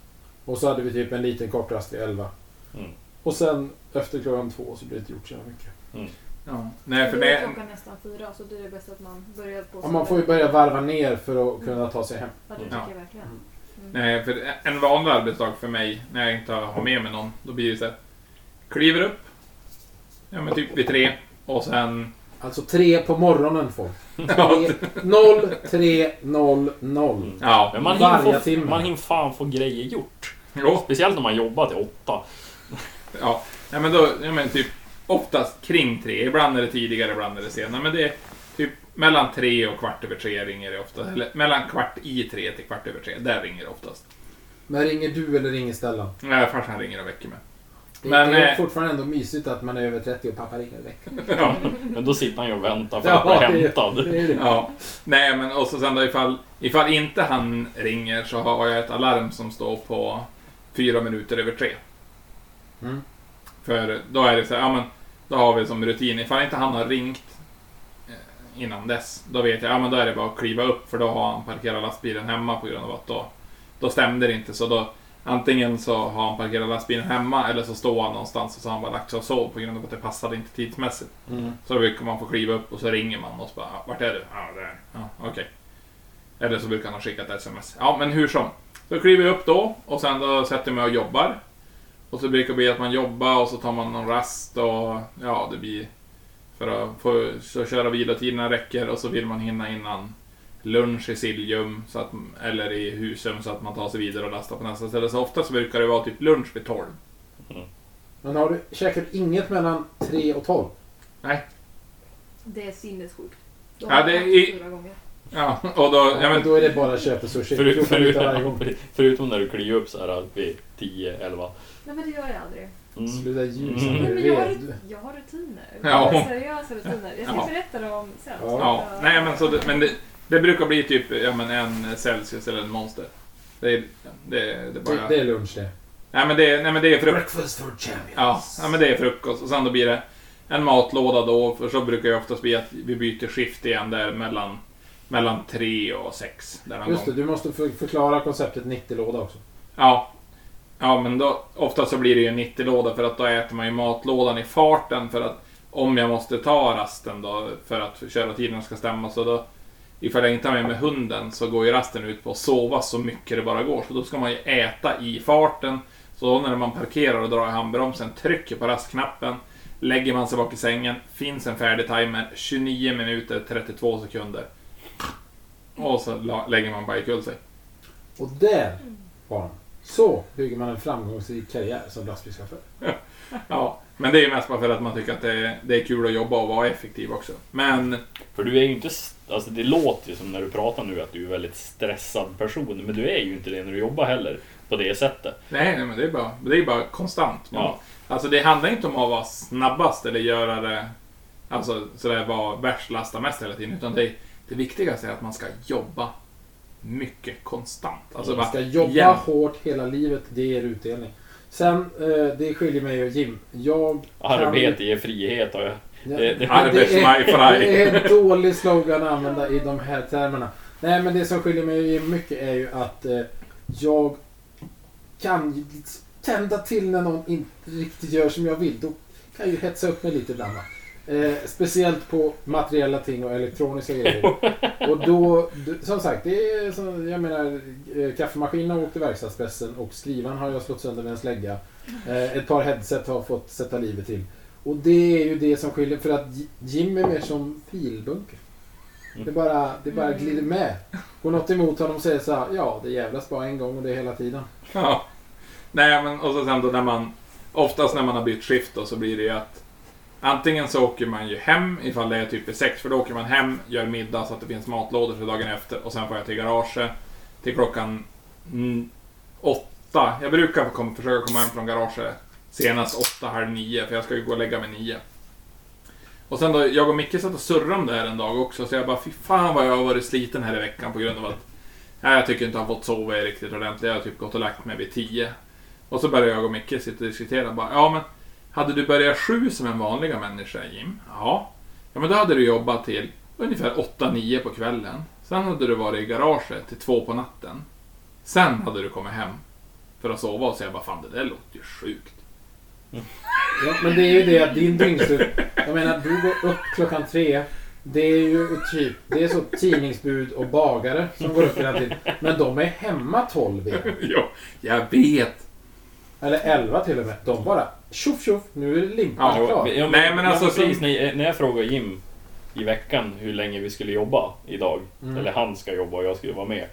B: Och så hade vi typ en liten kort rast vid elva.
G: Mm.
B: Och sen efter klockan två så blir det inte gjort så jävla mycket.
C: Ja. Nej, för
E: Nu är
C: när,
E: klockan nästan fyra så det är det bäst att man börjar på
B: Ja, man får ju börja varva ner för att kunna ta sig hem.
E: Ja, det tycker jag verkligen.
C: nej, för en vanlig arbetsdag för mig, när jag inte har med mig någon, då blir det så här. Kliver upp, ja men typ vid tre, och sen...
B: Alltså tre på morgonen folk.
C: Ja,
B: Noll, tre, noll, noll.
C: ja.
G: Men man
B: Varje
G: hinner, få,
B: timme.
G: man hinner fan få grejer gjort.
C: Jo,
G: Speciellt när man jobbar till åtta.
C: ja. Nej, men då, ja men typ oftast kring tre, ibland är det tidigare, ibland är det senare, men det är typ mellan tre och kvart över tre ringer det oftast, eller mellan kvart i tre till kvart över tre, där ringer det oftast.
B: Men ringer du eller ringer Stellan?
C: Nej, farsan ringer och väcker mig.
B: Det,
C: Men,
B: det är
C: eh,
B: fortfarande ändå mysigt att man är över 30 och pappa ringer och väcker.
C: Ja.
G: Men då sitter han ju och väntar för att
B: Ja,
G: bli
B: det-
G: hämtad.
B: det är det.
C: Ja, nej men och så sen då ifall, ifall inte han ringer så har jag ett alarm som står på fyra minuter över tre.
B: Mm.
C: För då är det så här, ja men då har vi som rutin, ifall inte han har ringt eh, innan dess, då vet jag, ja men då är det bara att kliva upp för då har han parkerat lastbilen hemma på grund av att då, då stämde det inte så då Antingen så har han parkerat lastbilen hemma eller så står han någonstans och så har han bara lagt sig och sov på grund av att det passade inte tidsmässigt.
B: Mm.
C: Så brukar man få kliva upp och så ringer man och så bara, "Ah, vart är du? Ja, där. Ja, okej. Eller så brukar han ha skickat ett sms. Ja, men hur som. Så kliver jag upp då och sen då sätter jag mig och jobbar. Och så brukar det bli att man jobbar och så tar man någon rast och ja, det blir för att få så köra vilotiderna räcker och så vill man hinna innan lunch i Siljum så att, eller i Husum så att man tar sig vidare och lastar på nästa ställe. Så ofta så brukar det vara typ lunch vid 12.
B: Men har du, käkar du inget mellan 3 och 12?
C: Nej.
E: Det är sinnessjukt. Då
C: Ja,
E: har
C: det
E: jag
C: är-
E: haft fyra gånger.
C: Ja, och då... Ja, men,
B: Då är det bara köpesushi.
G: Förut,
B: 14
G: förut,
B: bitar varje gång.
G: förutom när du kliver upp så här vid 10, 11.
E: Nej men det gör jag aldrig.
G: Mm.
B: Sluta ljusa
G: Mm.
E: Nej,
B: mm.
E: men jag, har, rut- jag har rutiner.
C: Ja.
E: Jag har seriösa rutiner. Jag ska
C: Ja.
E: berätta dem sen.
B: Ja.
E: Så att,
C: Ja,
E: äh,
C: nej men, så det, men det, det brukar bli typ ja, men en Celsius eller en Monster. Det är, det, det är bara...
B: Det är lunch det.
C: nej, men det, nej men det är frukost.
B: Breakfast for champions.
C: Ja, ja, men det är frukost. Och sen då blir det en matlåda då, för så brukar det oftast bli att vi byter skift igen där mellan, mellan tre och sex. Där någon
B: Just det,
C: gång.
B: du måste för- förklara konceptet 90-låda också.
C: Ja. Ja, men då, ofta så blir det ju en 90-låda för att då äter man ju matlådan i farten för att om jag måste ta rasten då för att köra tiden ska stämma så då ifall jag inte har med mig hunden så går ju rasten ut på att sova så mycket det bara går. Så då ska man ju äta i farten. Så då när man parkerar och drar i handbromsen, trycker på rastknappen, lägger man sig bak i sängen, finns en färdig timer, 29 minuter 32 sekunder. Och så la- lägger man bara ikväll sig.
B: Och där var han. Så bygger man en framgångsrik karriär som lastbilschaufför.
C: Ja, men det är ju mest bara för att man tycker att det är, det är kul att jobba och vara effektiv också. Men
G: För du är ju inte... s- Alltså det låter ju som när du pratar nu att du är en väldigt stressad person. Men du är ju inte det när du jobbar heller. På det sättet.
C: nej, nej men det är bara, det är bara konstant. Man,
G: Ja.
C: Alltså det handlar inte om att vara snabbast eller göra det, alltså sådär vara värst, lasta mest hela tiden. Utan det, det viktigaste är att man ska jobba mycket konstant. Alltså
B: Man ska
C: bara
B: jobba
C: jämt.
B: hårt hela livet, det ger utdelning. Sen, eh, det skiljer mig och Jim. Jag
G: Arbete ger frihet har jag.
B: Ja,
G: Det- det-
B: men det är-
C: Arbetsmajfraj.
B: Det är en dålig slogan att använda i de här termerna. Nej, men det som skiljer mig mycket är ju att eh, jag kan ju liksom tända till när någon inte riktigt gör som jag vill. Då kan jag ju hetsa upp mig lite ibland. va. Eh, speciellt på materiella ting och elektroniska grejer. Och då, d- som sagt, det är som, jag menar, eh, kaffemaskinen har åkt i verkstadspressen och skrivaren har jag slått sönder med en slägga. Eh, ett par headset har fått sätta livet till. Och det är ju det som skiljer, för att J- Jim är mer som filbunker.
A: Mm.
B: Det bara, det bara
E: Mm.
B: glider med. Går något emot honom säger så här, ja det jävlas bara en gång och det är hela tiden.
C: Ja. Nej, men och så sen då när man... Oftast när man har bytt skift då så blir det ju att antingen så åker man ju hem ifall det är typ i sex, för då åker man hem, gör middag så att det finns matlådor för dagen efter och sen får jag till garaget till klockan mm, åtta. Jag brukar kom, försöka komma hem från garaget senast åtta, halv nio, för jag ska ju gå och lägga mig nio. Och sen då, jag och Micke satt och surrade om det här en dag också, så jag bara, fy fan vad jag har varit sliten här i veckan på grund av att Nej, jag tycker inte jag har fått sova riktigt ordentligt. Jag har typ gått och lagt mig vid 10. Och så började jag och Micke sitta och diskutera. Bara, ja, men hade du börjat sju som en vanliga människa, Jim? Ja. Ja, men då hade du jobbat till ungefär 8-9 på kvällen. Sen hade du varit i garaget till två på natten. Sen hade du kommit hem för att sova och säga bara fan det där låter ju sjukt.
B: Ja, men det är ju det att din dygnsrytm, jag menar du går upp klockan tre. Det är ju typ, det är så tidningsbud och bagare som går upp hela tiden. Men de är hemma tolv igen.
C: ja, jag vet.
B: Eller elva till och med. De bara tjoff tjoff, nu är limpan
C: Ja,
B: klar.
G: Ja, men,
C: Nej, men alltså,
G: precis, eh,
C: så-
G: när, när jag frågade Jim i veckan hur länge vi skulle jobba idag,
B: Mm.
G: eller han ska jobba och jag skulle vara med.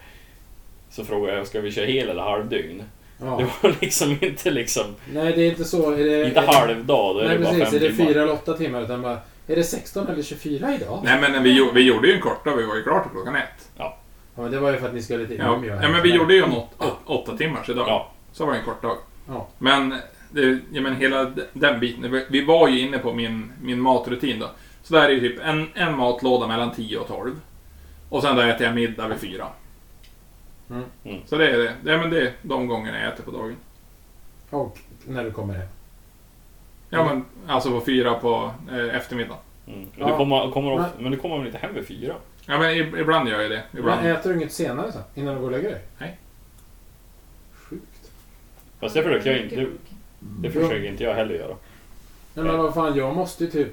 G: Så frågade jag, ska vi köra hel eller halvdygn? Det
B: Ja.
G: var liksom inte liksom,
B: Nej, det är inte så. Är det,
G: inte
B: är det,
G: halvdag, då är
B: Nej
G: det bara
B: precis, är
G: fem
B: det
G: timmar.
B: fyra eller åtta timmar? Utan bara, är det 16 eller 24 idag?
C: Nej, men vi, gjo- vi gjorde ju en korta. Vi var ju klara till klockan ett.
B: Ja, men det var ju för att ni skulle till
C: Ja,
B: Umeå.
C: ja,
B: här.
C: men vi gjorde ju en åt, åt, åtta timmars idag.
G: Ja,
C: Så var det en kort dag.
B: Ja.
C: Men, det, ja, men hela d- den biten. Vi- Vi var ju inne på min, min matrutin då. Så där är ju typ en, en matlåda mellan 10 och 12. Och sen då äter jag middag vid 4.
B: Mm.
G: Mm.
C: Så det är det. Ja, men det är de gångerna jag äter på dagen.
B: Och när du kommer hem.
C: Ja, men alltså på 4 på eh, eftermiddagen.
G: mm. Och
B: Ja.
G: Du kommer, kommer of, men du kommer väl inte hem vid fyra?
C: Ja, men ib- ibland gör jag det. Ibland.
B: Men äter du inget senare sen? Innan du går och lägger dig?
C: Nej.
B: Sjukt.
G: Fast det försöker jag inte, det,
E: Mycket sjuk.
G: det försöker inte jag heller göra.
B: Nej men vad fan, jag måste ju typ...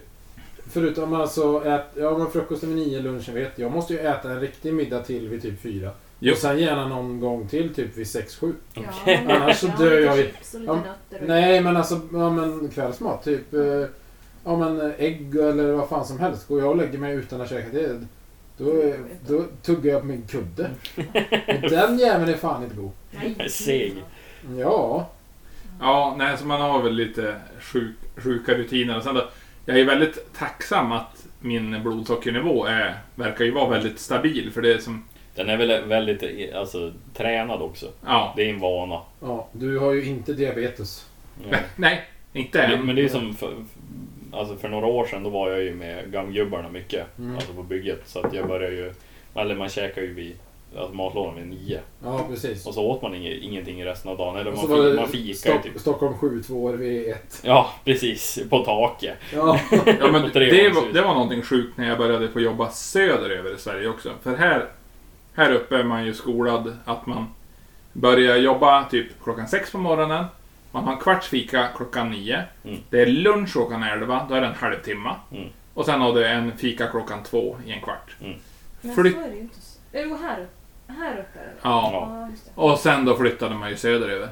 B: Förutom alltså ät, ja men frukosten vid nio, lunchen vid ett. Jag måste ju äta en riktig middag till vid typ fyra.
C: Jo.
B: Och sen gärna någon gång till typ vid sex, sju.
E: Ja, men-
B: Annars så
E: ja,
B: dör
E: lite
B: jag i-
E: chips och lite
B: Ja,
E: nötter och-
B: Nej men alltså, ja men kvällsmat. Typ, eh, ja men ägg eller vad fan som helst. Går jag och lägger mig utan att käka det, då, eh, då tuggar jag på min kudde. Och den jäveln är fan inte god.
E: Nej,
G: Seg.
B: Ja.
C: Ja, nej, så man har väl lite sjuk, sjuka rutiner. Och sen då, jag är väldigt tacksam att min blodsockernivå är, verkar ju vara väldigt stabil. För det är som...
G: Den är väl väldigt alltså, tränad också.
C: Ja.
G: Det är en vana.
B: ja. Du har ju inte diabetes.
G: Ja.
C: Nej, inte
G: Det-
C: än.
G: Men det är ju som för, för- alltså för några år sedan, då var jag ju med gammgubbarna mycket.
B: Mm.
G: Alltså på bygget. Så att jag började ju, eller man käkar ju vid alltså matlådan vid nio.
B: Ja, precis.
G: Och så åt man inget, ingenting resten av dagen. Eller
B: Och
G: man,
B: så
G: fi,
B: var
G: man
B: det
G: fikar ju
B: Stock,
G: typ.
B: Stockholm 7 2 år vid ett.
G: Ja, precis. På taket.
B: Ja.
C: Ja, men
G: Och
C: det,
G: tre
C: det,
G: år
C: var,
G: ser ut.
C: det var någonting sjukt när jag började få jobba söderöver i Sverige också. För här, här uppe är man ju skolad att man börjar jobba typ klockan sex på morgonen. Man har en kvarts fika klockan nio.
G: Mm.
C: Det är lunch klockan elva, då är det en halvtimme.
G: Mm.
C: Och sen har du en fika klockan två i en kvart.
E: Men
C: För
E: så
C: det-
E: är det ju inte. så- Jo, här uppe. Här uppe är det.
C: Ja.
E: Ja, just det.
C: Och sen då flyttade man ju söderöver.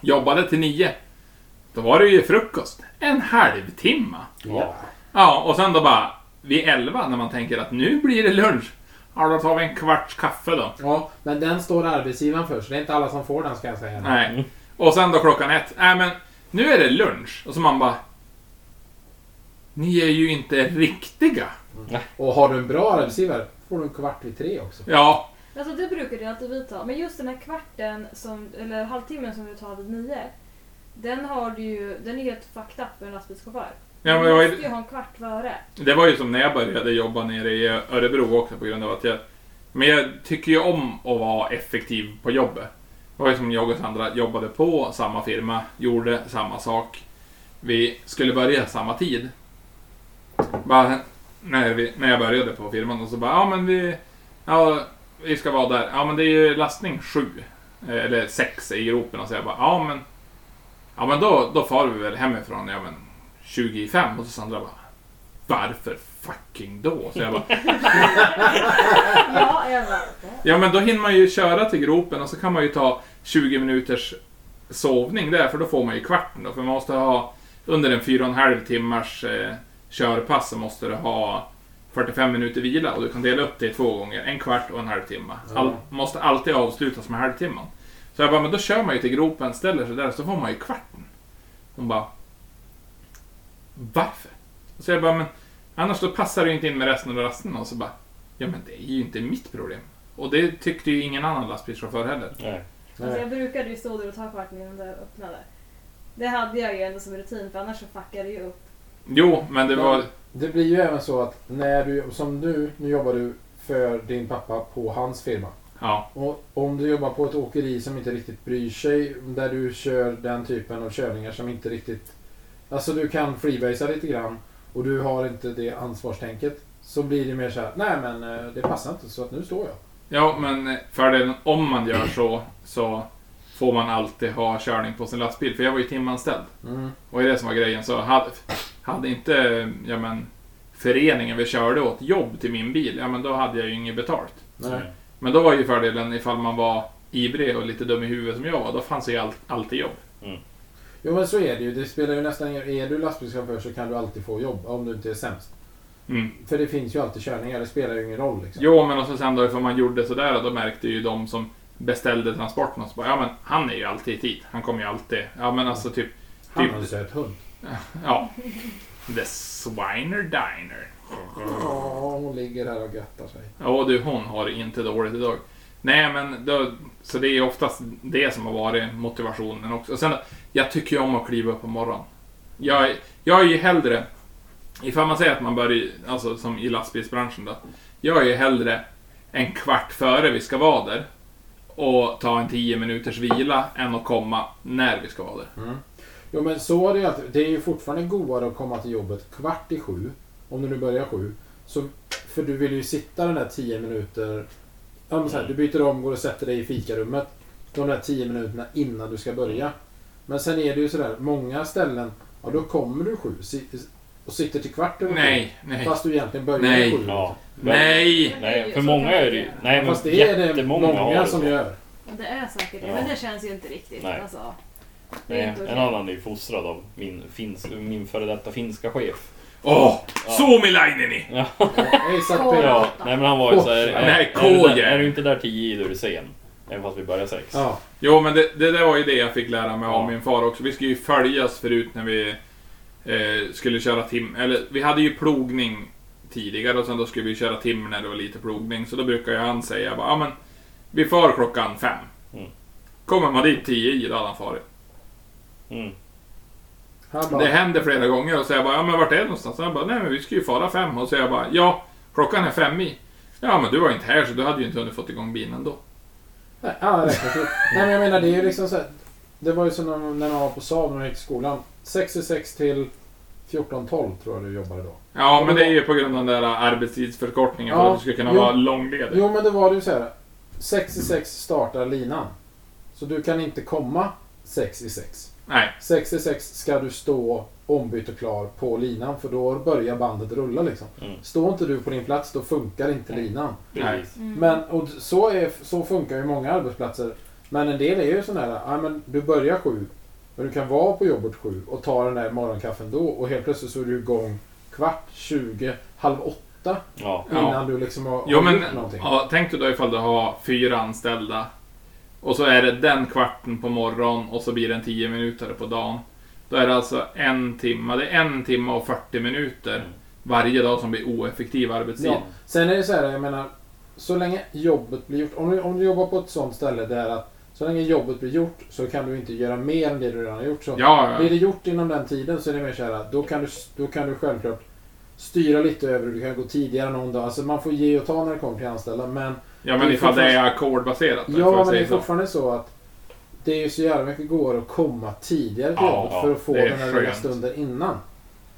C: Jobbade till nio. Då var det ju frukost. En halvtimme.
B: ja.
C: Ja, och sen då bara vid 11 när man tänker att nu blir det lunch. Ja, då tar vi en kvarts kaffe då.
B: Ja, men den står arbetsgivaren för, så det är inte alla som får den ska jag säga.
C: Nej. Och sen då klockan ett. Nej, men nu är det lunch. Och så man bara... Ni är ju inte riktiga.
B: Och har du en bra arbetsgivare får du en kvart vid tre också.
C: Ja,
E: Alltså det brukade ju alltid vi ta. Men just den här kvarten, som, eller halvtimmen som du tar vid nio. Den har du ju, den är helt fucked up för en lastbilschaufför.
C: Ja, men
E: du
C: det var ju-
E: måste ju ha en kvart före.
C: det var ju som när jag började jobba nere i Örebro också på grund av att jag... Men jag tycker ju om att vara effektiv på jobbet. Det var ju som jag och Sandra jobbade på samma firma, gjorde samma sak. Vi skulle börja samma tid. Bara, när, vi, när jag började på firman och så bara, ja men vi... Ja, vi ska vara där. Ja men det är ju lastning sju. eh, Eller sex i gropen och så jag bara, ja men... Ja men då, då far vi väl hemifrån, ja men 25 och så Sandra bara, varför fucking då? Så jag bara,
E: Ja, jag bara, "Va?"
C: Ja, men då hinner man ju köra till gropen och så kan man ju ta 20 minuters sovning där, för då får man ju kvarten då. För man måste ha under en fyra och en halv timmars eh, körpass så måste du ha 45 minuter vila och du kan dela upp det i två gånger, en kvart och en halvtimme. All,
B: Ja.
C: måste alltid avslutas med halvtimman. Så jag bara, men då kör man ju till gropen, ställer sig där, så får man ju kvarten. Hon bara, varför? Så jag bara, men annars då passar det ju inte in med resten av rasterna. Och så bara, ja men det är ju inte mitt problem. Och det tyckte ju ingen annan lastbilschaufför heller.
G: Nej.
E: Alltså jag brukade ju stå där och ta kvarten innan det öppnade. Det hade jag ju ändå som rutin för annars så fuckade det ju upp.
C: Jo, men det var...
B: Det blir ju även så att när du, som nu, nu jobbar du för din pappa på hans firma.
C: Ja,
B: Och om du jobbar på ett åkeri som inte riktigt bryr sig, där du kör den typen av körningar som inte riktigt... Alltså du kan freebasea lite grann och du har inte det ansvarstänket. Så blir det mer så här, nej men eh, det passar inte så att nu står jag.
C: ja men eh, fördelen om man gör så, så får man alltid ha körning på sin lastbil. För jag var ju timanställd.
B: Mm.
C: Och det är det som var grejen. Så hade, hade inte ja, men, föreningen vi körde åt jobb till min bil, ja men då hade jag ju inget betalt.
B: Nej.
C: Men då var ju fördelen ifall man var ivrig och lite dum i huvudet som jag var, då fanns ju all, alltid jobb.
B: Jo men så är det ju, det spelar ju nästan ingen Är du lastbilschaufför så kan du alltid få jobb om du inte är sämst.
C: Mm.
B: För det finns ju alltid körningar, det spelar ju ingen roll liksom.
C: Jo, men och så sen då ifall man gjorde sådär, då märkte ju de som beställde transporten och så bara, ja men han är ju alltid i tid, han kommer ju alltid. Ja men alltså typ,
B: Han
C: typ-
B: har en söt hund.
C: ja. The Swiner Diner.
B: Ja, hon ligger här och göttar sig.
C: Ja du, hon har inte dåligt idag. Nej men, då, så det är ju oftast det som har varit motivationen också. Och sen, jag tycker ju om att kliva upp på morgonen. Jag, jag är ju hellre, ifall man säger att man börjar, alltså som i lastbilsbranschen då. Jag är ju hellre en kvart före vi ska vara där och ta en 10 minuters vila än att komma när vi ska vara där.
B: Jo men så är det ju alltid. Det är ju fortfarande godare att komma till jobbet kvart i sju. Om du nu börjar sju. Så, för du vill ju sitta den där tio minuter. Ja, men så här, du byter om, går och sätter dig i fikarummet. De där tio minuterna innan du ska börja. Men sen är det ju sådär, många ställen, ja då kommer du sju si- och sitter till kvart över
C: Nej, nej.
B: sju. Fast du egentligen börjar
C: Nej.
B: sju.
G: Ja.
C: Nej!
G: Nej, för
E: Så
G: många
E: kan jag
G: är det ju...
E: göra.
G: Nej, men
B: Fast det är det
G: jättemånga har
B: många
G: det
B: som
G: så.
B: gör.
E: Ja, Det är säkert det,
G: Ja.
E: men det känns ju inte riktigt.
G: Nej.
E: Alltså, det är
G: Nej,
E: inte okej.
G: en annan är ju fostrad av min, finns, min före detta finska chef.
C: Åh! Suomilaineni!
B: Nej, exakt det.
E: Ja.
G: Ja, nej men han var ju eh, såhär...
C: Nej,
G: är,
C: Koje.
G: du- är du inte där tio då är du sen. Även fast vi börjar sex.
B: Ja.
C: Jo, men det, det där var ju det jag fick lära mig av
G: Ja.
C: min far också. Vi skulle ju följas förut när vi eh, skulle köra tim... Eller, vi hade ju plogning tidigare och sen då skulle vi köra tim när det var lite plogning. Så då brukar ju han säga bara, ja men, vi far klockan fem.
G: Mm.
C: Kommer man dit tio i, då hade han farit.
G: Mm.
B: Han
C: Det
B: bara,
C: hände flera gånger och så jag bara, ja men vart är det någonstans? Han bara, nej men vi ska ju fara fem. Och så jag bara, ja, klockan är fem i. Ja, men du var inte här så du hade ju inte hunnit fått igång bilen då.
B: Nej, ja, det räknas ut. Nej, men jag menar det är ju liksom så här, Det var ju som när man- när man var på Saab när man gick i skolan. 66 till 14.12 tror jag du jobbade då.
C: Ja, men det är ju på grund av den där arbetstidsförkortningen för
B: Ja,
C: att du ska kunna
B: jo.
C: vara långledig.
B: Jo men det var det ju så här. 66 startar linan. Så du kan inte komma 66.
C: Nej.
B: 66 ska du stå ombytt och klar på linan för då börjar bandet rulla liksom.
G: Mm.
B: Står inte du på din plats då funkar inte linan.
G: Precis.
E: Mm.
B: Men och så, är, så funkar ju många arbetsplatser. Men en del är ju sån här, ja, men du börjar sju, men du kan vara på jobbet sju och ta den där morgonkaffen då och helt plötsligt så är du igång kvart, tjugo, halv åtta
G: Ja.
C: Ja.
B: innan du liksom har,
C: Jo
B: har
C: men
B: gjort någonting.
C: ja, tänk dig då ifall du har fyra anställda och så är det den kvarten på morgonen och så blir det en tio minuter på dagen. Då är det alltså en timme, det är en timme och 40 minuter varje dag som blir oeffektiv arbetstid.
B: Ja. Sen är det så här, jag menar, så länge jobbet blir gjort, om du, om du jobbar på ett sånt ställe där att så länge jobbet blir gjort så kan du inte göra mer än det du redan har gjort. Så
C: Ja,
B: Blir
C: ja.
B: det gjort inom den tiden så är det mer så här att då kan du, då kan du självklart styra lite över Du kan gå tidigare någon dag. Alltså man får ge och ta när det kommer till anställda. Men
C: ja
B: det
C: men
B: är
C: ifall det är
B: fortfarande-
C: ackordbaserat. då, får
B: ja,
C: jag
B: men det
C: säga
B: är
C: så.
B: fortfarande så att det är ju så jävla mycket går att komma tidigare till
C: Ja,
B: jobbet
G: ja,
B: för att få
C: det är
B: den här lilla
C: skönt.
B: stunden innan.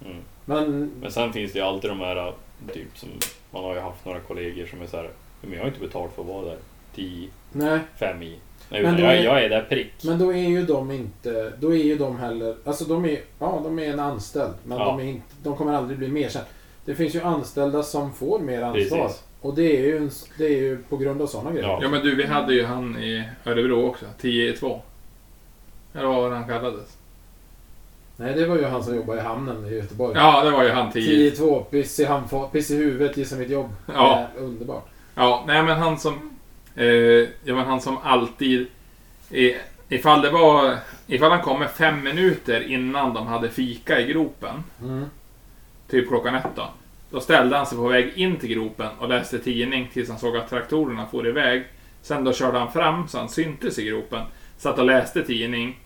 G: Mm.
B: Men
G: Men sen finns det ju alltid de här, typ som... Man har ju haft några kollegor som är såhär... Men jag har inte betalt för att vara där. Tio,
B: nej,
G: fem i. Nej,
B: Men
G: utan
B: då
G: jag,
B: är-
G: jag är där prick.
B: men då är ju de inte, då är ju de heller, alltså de är, ja de är en anställd. Men
G: Ja.
B: de, är inte, de kommer aldrig bli mer sen. Det finns ju anställda som får mer ansvar.
G: Precis.
B: Och det är, ju en, det är ju på grund av sådana grejer.
G: Ja.
C: Ja men du, vi hade ju han i Örebro också, 10 i 2. Eller vad var det han kallades?
B: Nej, det var ju han som jobbade i hamnen i Göteborg.
C: Ja, det var ju han 10.
B: 10-2, piss i handfat, piss i huvudet, gissa mitt jobb.
C: Ja.
B: Eh, underbart.
C: Ja, nej men han som... Eh, ja, men han som alltid... Eh, ifall det var... Ifall han kommer fem minuter innan de hade fika i gropen,
B: Mm.
C: typ klockan ett då. Då ställde han sig på väg in till gropen och läste tidning tills han såg att traktorerna for iväg. Sen då körde han fram så han syntes i gropen. Satt och läste tidning.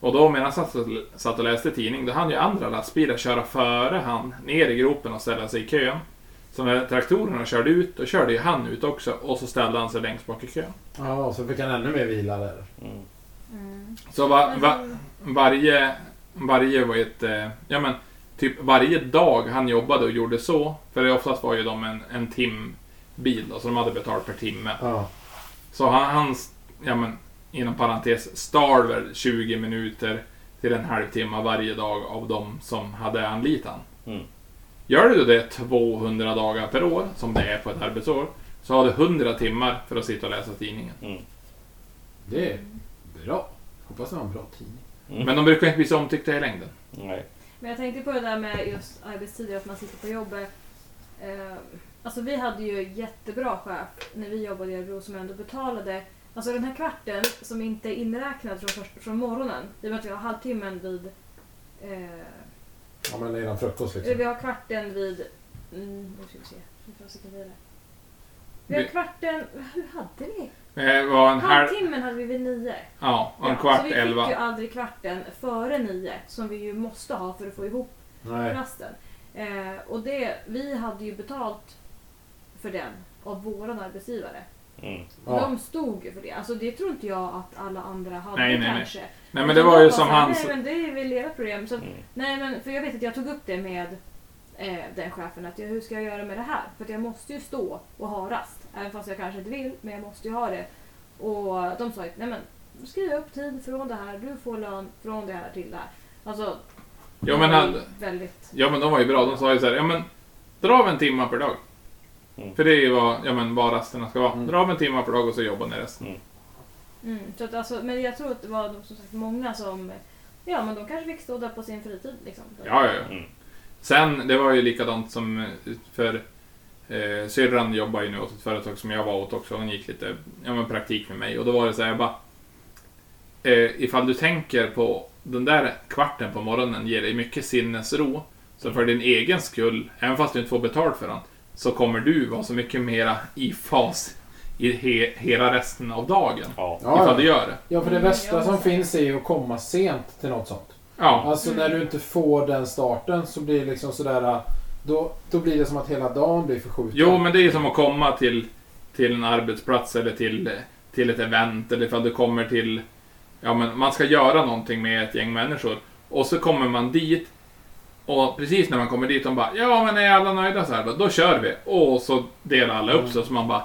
C: Och då medan han satt och- satt och läste tidning, då hann ju andra lastbilar köra före han ner i gropen och ställa sig i kön. Så när traktorerna körde ut, då körde ju han ut också och så ställde han sig längst bak i kön.
B: Ja, så fick han ännu mer vila där.
A: Mm.
E: Mm.
C: Så va,
E: Men
C: va,
E: sen-
C: varje, varje var ett, eh, ja men, typ varje dag han jobbade och gjorde så, för det oftast var ju de en, en timbil då, så de hade betalt per timme.
B: Ja.
C: Så han, han ja men, inom parentes, stal väl 20 minuter till en halvtimme varje dag av de som hade anlitat han.
A: Mm.
C: Gör du det 200 dagar per år, som det är på ett arbetsår, så har du 100 timmar för att sitta och läsa tidningen.
B: Det är bra. Hoppas det var en bra tidning.
C: Men de brukar inte bli så omtyckta i längden.
A: Nej.
E: Men jag tänkte på det där med just arbetstider, att man sitter på jobbet. Eh, alltså vi hade ju jättebra chef när vi jobbade i Örebro som ändå betalade. Alltså den här kvarten som inte är inräknad från, först- från morgonen, i och med att vi har halvtimmen vid... Eh,
B: Ja, men redan frukost
E: eller vi
B: liksom.
E: har kvarten vid... Mm, nu ska vi se. Hur fasiken blir det? Vi har
C: Vi-
E: kvarten... Hur hade vi?
C: Det var Eh, en halv...
E: Halvtimmen hade vi vid nio.
C: Ja, och en
E: Ja, så
C: kvart
E: vi fick
C: elva.
E: ju aldrig kvarten före nio, som vi ju måste ha för att få ihop
B: Nej.
E: rasten. Eh, och det, vi hade ju betalt för den av våran arbetsgivare.
A: Mm.
B: Ja.
E: De stod ju för det. Alltså det tror inte jag att alla andra hade
C: Nej, nej, nej.
E: kanske. Alltså,
C: Nej men
E: Utan
C: det
E: de
C: var ju
E: så
C: som
E: här,
C: hans...
E: Nej men det är väl ert problem. Så, att-
A: Mm.
E: Nej men för jag vet att jag tog upp det med eh, den chefen att jag, hur ska jag göra med det här? För att jag måste ju stå och ha rast. Även fast jag kanske inte vill men jag måste ju ha det. Och de sa ju nej men skriv upp tid från det här. Du får lön från det här till det här. Alltså
C: Ja men, han,
E: väldigt...
C: ja men de var ju bra, de sa ju såhär, ja men dra av en timma per dag.
A: Mm.
C: För det är ju vad, ja, men, vad rasterna ska vara.
B: Mm.
C: Dra av en timma per dag och så jobbar ni resten.
E: Mm, så att alltså, men jag tror att det var nog som sagt många som... Ja, men de kanske fick stå där på sin fritid. Liksom.
C: Ja, ja, ja.
A: Mm.
C: Sen, det var ju likadant som eh, för eh, syrran jobbar ju nu åt ett företag som jag var åt också. Hon gick lite ja, men praktik med mig och då var det så här, jag bara... Eh, ifall du tänker på den där kvarten på morgonen ger dig mycket sinnesro. Så för din egen skull, även fast du inte får betalt för den, så kommer du vara så mycket mera i fas i he, hela resten av dagen.
A: Ja.
B: Ja,
C: ifall du
B: ja.
C: gör det.
B: ja, för det
E: Mm,
B: värsta
E: jag
B: som
E: måste-
B: finns är ju att komma sent till något sånt.
C: Ja,
B: Alltså när du inte får den starten så blir det liksom sådär... äh, Då, då blir det som att hela dagen blir förskjuten.
C: Jo, men det är ju som att komma till, till en arbetsplats eller till, till ett event eller ifall du kommer till... Ja, men man ska göra någonting med ett gäng människor och så kommer man dit och precis när man kommer dit de bara ja, men är alla nöjda så här då, då kör vi. Och så delar alla upp sig så man bara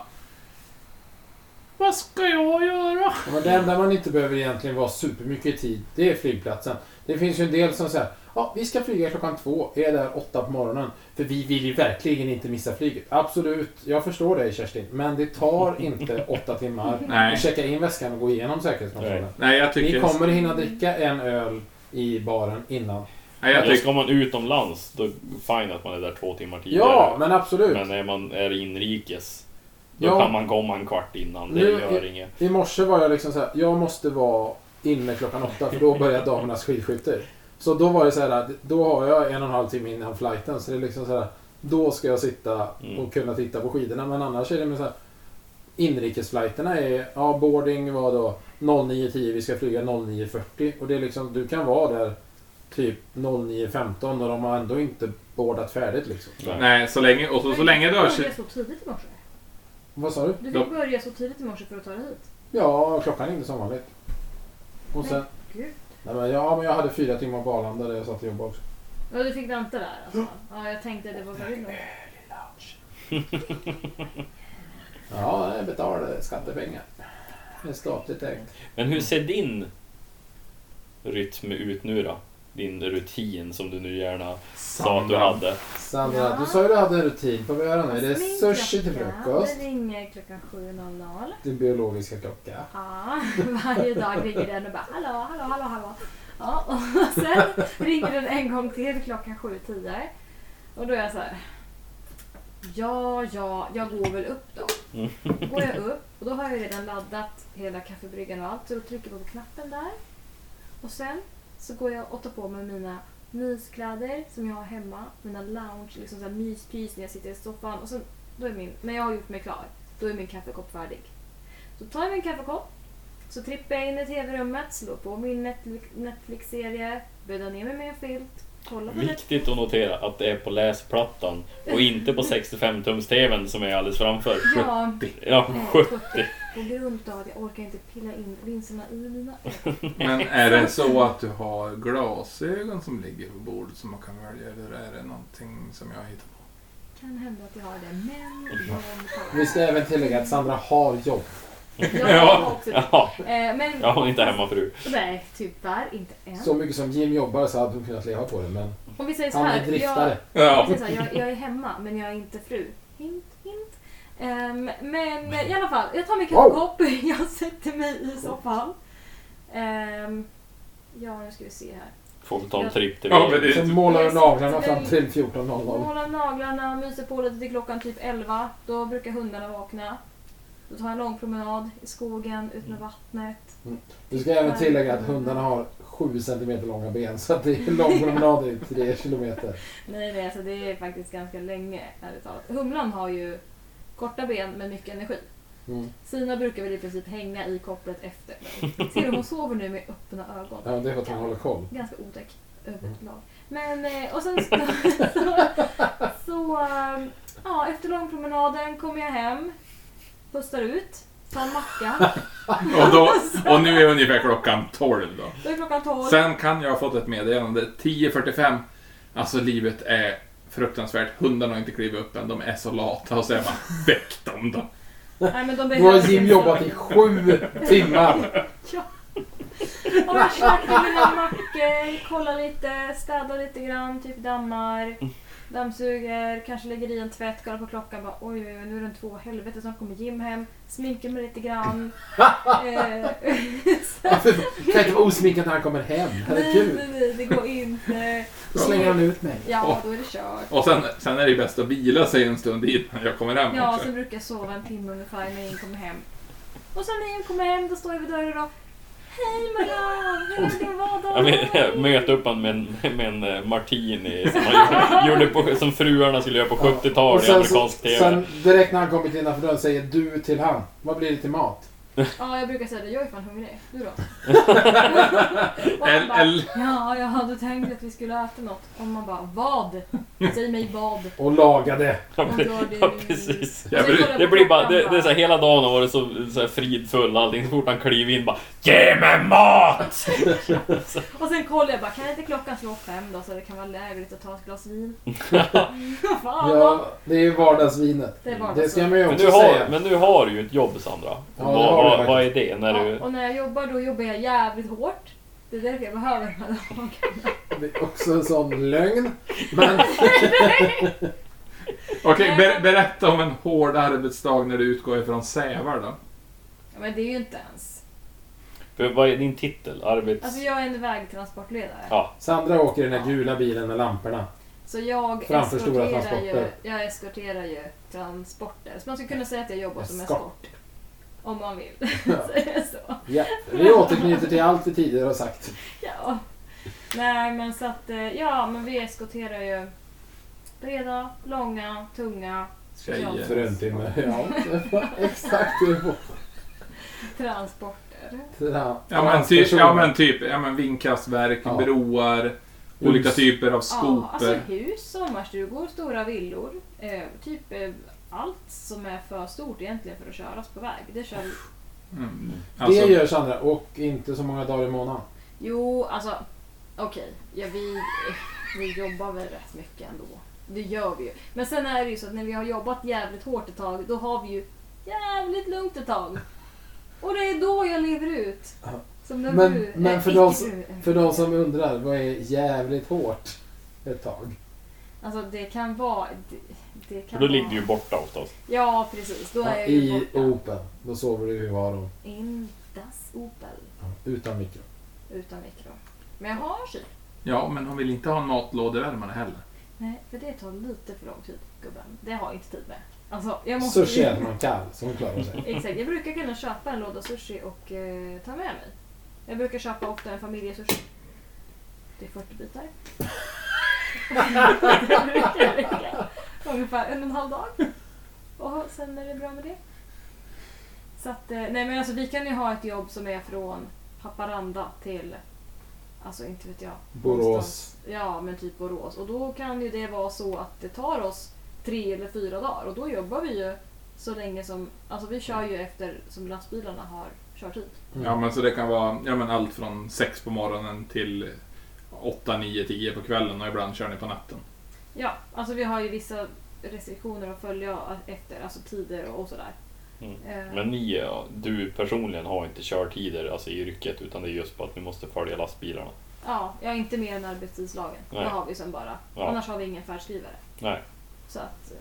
C: Vad ska jag göra?
B: Ja, Men det enda man inte behöver egentligen vara supermycket i tid, det är flygplatsen. Det finns ju en del som säger ja, vi ska flyga klockan två, är där åtta på morgonen. För vi vill ju verkligen inte missa flyget. Absolut, jag förstår dig Kerstin, men det tar inte åtta timmar
C: Nej.
B: att checka in väskan och gå igenom säkerhetskontrollen.
C: Nej, jag tycker...
B: Ni kommer hinna dricka en öl i baren innan.
C: nej,
A: Eller
C: jag tycker
A: ska man utomlands, då är det fine att man är där två timmar tidigare.
B: Ja, men absolut.
A: Men när man är inrikes, då
B: Ja.
A: kan man komma en kvart innan. Det
B: Nu-
A: gör inget.
B: I morse var jag liksom så här, jag måste vara inne klockan åtta för då börjar damernas skidskytte. Så då var det så här, då har jag en och en halv timme innan flighten. Så det är liksom så här, då ska jag sitta
A: Mm.
B: och kunna titta på skidorna. Men annars är det med så här, inrikesflighterna är, ja boarding var då 09.10, vi ska flyga 09.40. Och det är liksom, du kan vara där typ 09.15 och de har ändå inte boardat färdigt liksom.
C: Nej, så länge... Och så, så länge du
E: du
C: har...
E: fick börja så tidigt i morse.
B: Vad sa du?
E: Du
C: Ja.
E: fick börja så tidigt i morse för att ta dig hit.
B: Ja, klockan ringde som vanligt. Och sen,
E: Gud.
B: Nej, men, ja, men jag hade fyra timmar på Arlanda där jag satt och jobbade också.
E: Ja, du fick vänta där alltså. Ja, jag tänkte det var väldigt långt.
B: Ja, jag betalade skattepengar. Det är statligt ägt.
A: Men hur ser din rytm ut nu då? Din rutin som du nu gärna sa att du hade.
B: Sandra,
E: Ja.
B: du sa ju du hade en rutin. Vad vi göra nu? Det är sushi till frukost.
E: Det ringer klockan 7.00.
B: Din biologiska klocka.
E: Ja, varje dag ringer den och bara hallå, hallå, hallå, hallå. Ja, och sen ringer den en gång till klockan 7.10. Och då är jag så här. Ja, ja, jag går väl upp då. Går jag upp och då har jag redan laddat hela kaffebryggan och allt. Så då trycker jag på knappen där. Och sen så går jag och tar på mig mina myskläder som jag har hemma. Mina lounge, liksom så här myspys när jag sitter i soffan. Och sen, då är min, när jag har gjort mig klar, då är min kaffekopp färdig. Så tar jag min kaffekopp så trippar jag in i tv-rummet, slår på min Netflix- Netflix-serie, bäddar ner mig med en filt, kollar på Netflix.
G: Viktigt att notera att det är på läsplattan och inte på 65-tums-tvn som är alldeles framför.
E: Ja,
G: Ja,
E: nej,
G: 70.
E: 70. På grund av att jag orkar inte pilla in linserna i mina ögon.
C: Men är det så att du har glasögon som ligger på bordet som man kan välja eller är det någonting som jag hittar på?
E: Kan hända att jag har det, men...
B: Vi ska även tillägga att Sandra har jobb.
E: Jag har också det.
G: Ja,
E: Eh, Men,
G: jag har inte hemmafru.
E: nej, tyvärr, inte än.
B: Så mycket som Jim jobbar så hade hon kunnat leva på det, men
E: Om vi säger så
B: han är
E: här, jag,
B: driftare.
E: Jag, säger så här, jag, jag är hemma men jag är inte fru. Hint, hint. Ehm, men i alla fall, jag tar min
B: Wow.
E: kaffekopp, jag sätter mig i soffan. Ehm, ja, nu ska vi se här.
G: Får vi ta en tripp till
C: Ja, men det-
B: Så målar hon naglarna fram till
E: Jag
B: 14.00.
E: Målar naglarna, myser på lite till klockan typ 11. Då brukar hundarna vakna. Då tar jag en lång promenad i skogen, ut
B: Mm.
E: med vattnet.
B: Vi ska även tillägga att hundarna har 7 cm långa ben, så att det är lång promenad i 3 kilometer.
E: Nej, nej, alltså det är faktiskt ganska länge, ärligt talat. Humlan har ju korta ben men mycket energi.
B: Mm.
E: Sina brukar väl i princip hänga i kopplet efter mig. Ser du, hon sover nu med öppna ögon.
B: Ja, det är för att hon håller Mm. koll.
E: Ganska otäck överlag. Men, eh, och sen så... så, så eh, ja, efter långpromenaden kommer jag hem, pustar ut, tar en macka.
C: Och, då, och nu är ungefär klockan 12 då.
E: Då är klockan 12.
C: Sen kan jag ha fått ett meddelande 10.45. Alltså livet är fruktansvärt. Hundarna har inte klivit upp än. De är så lata. Och så är man väck dem då.
E: Nej, men de
B: Nu har Jim jobbat i 7 timmar.
E: Och jag käkar mina mackor, kollar lite, städar lite grann, typ dammar. Dammsuger, kanske lägger i en tvätt, kollar på klockan bara oj, oj, oj nu är den två, helvete snart kommer Jim hem. Sminkar mig lite grann. eh,
B: Varför kan inte vara osminkad när han kommer hem?
E: nej,
B: Herregud.
E: nej, nej, det går inte.
B: Då slänger han ut mig.
E: Ja, då är det kört.
C: Och sen, sen är det ju bäst att vila sig en stund innan jag kommer hem
E: Ja,
C: också.
E: sen brukar jag sova en timme ungefär när Jim kommer hem. Och sen när Jim kommer hem, då står jag vid dörren och Hej Marianne! Hur har
G: Jag
E: din vardag
G: men- jag möter upp honom med en, med en eh, martini som, man gjorde på, som fruarna skulle göra på 70-talet i
B: sen, så-
G: amerikansk TV.
B: sen direkt när han kommit innanför dörren säger du till han. Vad blir det till mat?
E: Ja, jag brukar säga det. Jag är fan hungrig. Du då? Och han
C: El,
E: bara,
C: el,
E: ja, jag hade tänkt att vi skulle äta något. Och man bara, vad? Säg mig vad.
B: Och lagade.
G: Ja,
E: Man
G: men-
E: gör det
G: ja,
E: ju-
G: precis.
E: Och
C: Ja,
E: sen
C: men det-
E: kollar jag
G: Det
E: på
G: blir bara,
E: klockan
G: det, det är så här, hela dagen har varit så, så här fridfull allting. Så fort han kliver in bara Ge mig mat!
E: Och sen kollar jag bara, kan inte klockan slå fem då så det kan vara lägligt att ta ett glas vin? fan vad...
B: Ja, det är ju vardagsvinet.
E: Det är vardagsvinet.
B: Det ska man ju
G: Men du,
B: också
G: har,
B: säga.
G: men du har ju ett jobb Sandra.
B: det
G: vad,
B: har jag
G: vad, vad är det? När du...
E: Ja, och när jag jobbar då jobbar jag jävligt hårt. Det är därför jag behöver den här dagen.
B: Det är också en sån lögn. Men
C: Okej, ber, berätta om en hård arbetsdag när du utgår ifrån Sävar då.
E: Ja, men det är ju inte ens.
G: För Vad är din titel? Arbets...
E: Alltså jag är en vägtransportledare.
G: Ja.
B: Sandra åker i den här gula bilen med lamporna.
E: Så jag
B: Framför stora
E: eskorterar ju,
B: transporter.
E: jag eskorterar ju transporter. Så man skulle kunna säga att jag jobbar som
B: Eskort.
E: eskort. Om man vill. Säga så.
B: Ja, vi återknyter till allt vi tidigare har sagt.
E: Ja. Nej men så att, eh, ja men vi eskorterar ju breda, långa, tunga
C: Tjejer.
B: För en timme. Ja, det var exakt hur vår
E: transporter.
B: tra-
C: Ja men, typ,
B: transperson-
C: ja men typ, ja men vindkraftverk,
B: Ja.
C: broar, olika typer av
E: Ja, alltså
C: skoper.
E: hus, sommarstugor, stora villor. Eh, typ eh, allt som är för stort egentligen för att köras på väg. Det kör vi
C: Mm.
B: Det
C: Alltså,
B: gör Sandra och inte så många dagar i månaden.
E: Jo, alltså okej. Ja, vi, vi jobbar väl rätt mycket ändå. Det gör vi ju. Men sen är det ju så att när vi har jobbat jävligt hårt ett tag, då har vi ju jävligt lugnt ett tag. Och det är då jag lever ut. Som den
B: Men-
E: fru-
B: men
E: eh,
B: för de
E: icke-fru.
B: För de som undrar, vad är jävligt hårt ett tag?
E: Alltså det kan vara... Det, det kan
G: För då
E: vara...
G: ligger du ju borta oftast.
E: Ja, precis. Då är jag ju
B: I oh.
E: borta.
B: Opel. Då sover du i varon.
E: In das Opel.
B: Utan mikro.
E: Utan mikro. Men jag har kyl.
C: Ja, men hon vill inte ha en matlådevärmare heller.
E: Nej, för det tar lite för lång tid, gubben. Det har jag inte tid med. Alltså, jag måste
B: Sushi äter man kall, så hon klarar sig.
E: Exakt. Jag brukar kunna köpa en låda sushi och eh, ta med mig. Jag brukar köpa ofta en familjesushi. Det är 40 bitar. det brukar räcka. Ungefär en och en halv dag. Och sen är det bra med det. Så att, eh, nej men alltså vi kan ju ha ett jobb som är från Haparanda till, alltså inte vet jag.
B: Borås.
E: Ja, men typ Borås. Och då kan ju det vara så att det tar oss tre eller fyra dagar och då jobbar vi ju så länge som... Alltså vi kör ju efter som lastbilarna har körtid.
B: Mm.
C: Ja, men så det kan vara ja, men allt från sex på morgonen till åtta, nio, tio på kvällen och ibland kör ni på natten.
E: Ja, alltså vi har ju vissa restriktioner att följa efter, alltså tider och sådär.
A: Mm.
E: Eh,
A: Men ni, ja, du personligen har inte körtider alltså i yrket utan det är just på att ni måste följa lastbilarna.
E: Ja, jag är inte med i den arbetstidslagen.
A: Nej.
E: Det har vi sen bara.
A: Ja.
E: Annars har vi ingen färdskrivare.
A: Nej.
E: Så att, eh,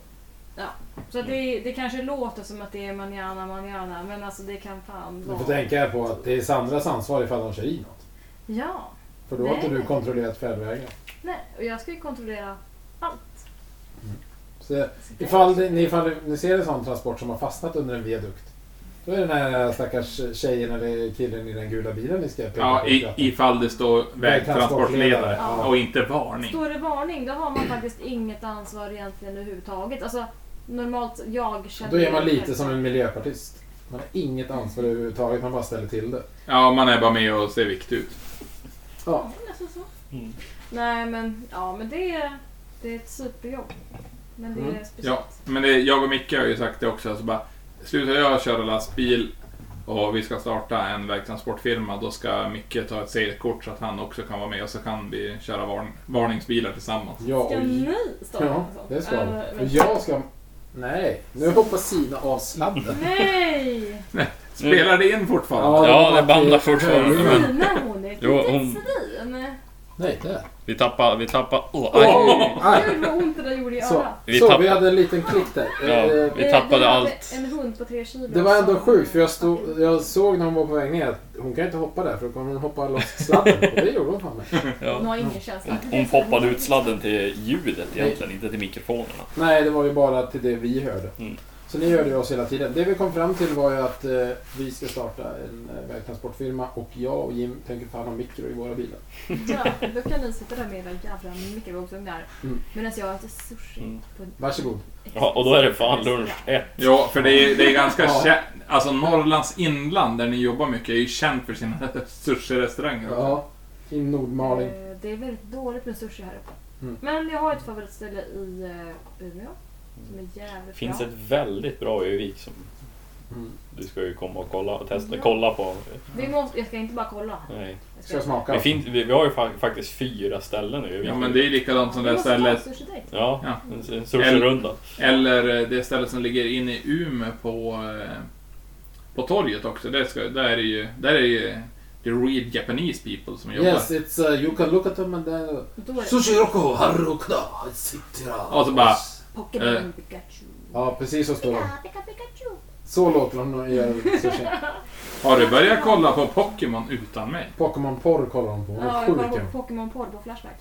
E: ja. Så
A: Mm.
E: att det, det kanske låter som att det är manjana, manjana, men alltså det kan fan
B: Du får
E: vara...
B: tänka här på att det är Sandras ansvar ifall de kör i något.
E: Ja,
B: För då har inte
E: Nej.
B: du kontrollerat färdvägen.
E: nej. Och jag ska ju kontrollera allt.
B: Så
E: Så det-
B: ifall, det- ni, ifall ni ser en sån transport som har fastnat under en viadukt. Då är det den här stackars tjejen eller killen i den gula bilen ni ska peka
C: Ja,
B: på.
C: i, ifall det står vägtransportledare
E: Ja.
C: och inte varning.
E: Står det varning, då har man faktiskt inget ansvar egentligen överhuvudtaget. Alltså, normalt, jag känner...
B: Då är man lite som en miljöpartist. Man har inget ansvar överhuvudtaget, man bara ställer till det.
C: Ja, man är bara med och ser viktig ut.
E: Ja,
B: Ja.
E: nästan så.
A: Mm.
E: Nej, men, ja, men det, är, det är ett superjobb. Men det är
B: Mm.
E: speciellt.
C: Ja, men det, jag och Micke har ju sagt det också. Alltså bara, slutar jag köra lastbil och vi ska starta en vägtransportfirma, då ska Micke ta ett C-kort så att han också kan vara med och så kan vi köra varn, varningsbilar tillsammans.
B: Ja, och...
E: Ska ni starta
B: ja
E: en sån?
B: det ska
E: Äh,
B: de. Och
E: men-
B: jag ska... Nej, nu hoppar Sina av sladden.
E: Nej!
C: Spelar det in fortfarande?
H: Ja, det
B: var
H: bandar
B: till-
H: fortfarande, men-
E: Stina hon är ett
H: Jo,
E: litet
H: hon-
E: svin.
B: Nej, där.
H: Vi tappar, vi tappar, åh, aj.
B: Oj! Aj.
E: Gud vad ont det där gjorde i
B: Så,
E: örat.
H: Vi
B: så
H: tapp-
B: vi hade en liten klick där.
H: Ja.
B: Eh,
H: Vi
E: Eh,
H: tappade
E: hade
H: allt.
E: en hund på tre kilo.
B: Det var ändå
E: som-
B: sjukt för jag, stod, jag såg när hon var på väg ner att hon kan inte hoppa där för då kommer hon hoppa loss sladden. Och det gjorde hon fan med.
E: Hon
A: Ja.
E: har ingen känsla.
A: Hon, hon poppade ut sladden till ljudet egentligen, inte till mikrofonerna.
B: Nej, det var ju bara till det vi hörde.
A: Mm.
B: Så ni hörde ju oss hela tiden. Det vi kom fram till var ju att eh, vi ska starta en eh, vägtransportfirma och jag och Jim tänker ta hand om mikro i våra bilar.
E: Ja, då kan ni sitta där med era jävla mikrovågsugnar
B: Mm.
E: medan jag äter sushi.
A: Mm.
E: På en
B: Varsågod.
A: Ja, och då är det fan lunch ett.
C: Ja, för det är, det är ganska
B: Ja.
C: känt. Alltså Norrlands inland där ni jobbar mycket är ju känt för sina sushi-restauranger. också.
B: Ja, i Nordmaling.
E: Eh, Det är väldigt dåligt med sushi här uppe.
B: Mm.
E: Men jag har ett favoritställe i eh, Umeå som är jävligt
A: finns
E: bra.
A: ett väldigt bra Övik som
B: Mm.
A: du ska ju komma och kolla och testa.
E: Ja.
A: Kolla på.
E: Vi måste, jag ska inte bara kolla.
A: Nej.
E: Jag
B: Ska jag
A: Vi,
B: smaka?
A: finns, vi, vi har ju fa- faktiskt fyra ställen i Övik.
C: Ja, men det är ju likadant som
E: Vi
C: det
E: måste ta
C: stället.
E: sushi direkt.
A: Ja,
C: Ja.
A: en, en sushi-runda.
C: Eller eh, det stället som ligger inne i Umeå på, eh, på torget också. Där, ska, där är ju, där är ju the real Japanese people som jobbar.
B: Yes, it's uh, you can look at them and then... uh,
E: Då är det
B: Sushi Rocco, Harukuda, Sitra.
C: Och så bara-
E: Pokémon
C: Eh.
E: Pikachu.
B: Ja, precis så står de.
E: Pika, pika, Pikachu.
B: Så låter de när de gör sushi.
C: Har du börjat kolla på Pokémon utan mig?
B: Pokémon-porr kollar de på. Det
E: Ja,
B: är
E: jag
B: sjukt
E: kollar
B: kul.
E: på Pokémon Porr på Flashback.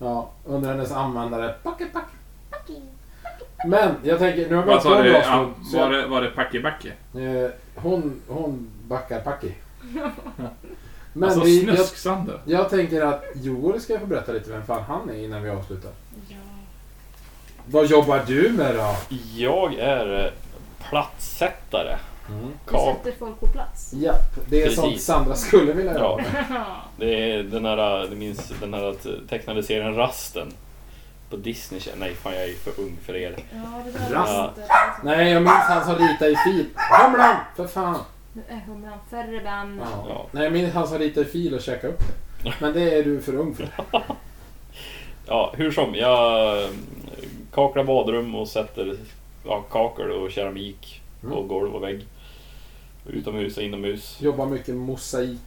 B: Ja, under hennes användare. Packe, pack. Men jag tänker, nu har vi varit
C: Vad
B: på
C: sa
B: en
C: du?
B: bra
C: Ja,
B: stund. så
C: var
B: jag-
C: Alltså, det, var det Packe Backe?
B: eh, Hon, hon backar Packi. Men
C: Alltså
B: vi, jag,
C: Snusk-Sander.
B: jag tänker att Joel ska få berätta lite vem fan han är innan vi avslutar. Vad jobbar du med då?
A: Jag är eh, platssättare.
C: Mm.
E: Vi
A: Ka-
E: sätter folk på plats.
B: Japp, det är
A: Precis.
B: sånt Sandra skulle vilja
A: Ja.
B: göra.
A: Det är den här, ni minns den här eh, tecknade serien Rasten. På Disney Channel. Nej, fan jag är ju för ung för er.
E: Ja, det där
A: Rast.
E: låter som-
B: Nej, jag minns han som ritade i fil. Humlan! För fan!
E: Nu är humlan färre band.
B: Ja.
A: Ja.
B: Nej, jag minns han som ritade i fil och käkade upp det. Men det är du för ung för.
A: Ja, hur som. Jag eh, kaklar badrum och sätter ja, kakel och keramik
B: Mm.
A: och golv och vägg. Utomhus och inomhus.
B: Jobbar mycket mosaik.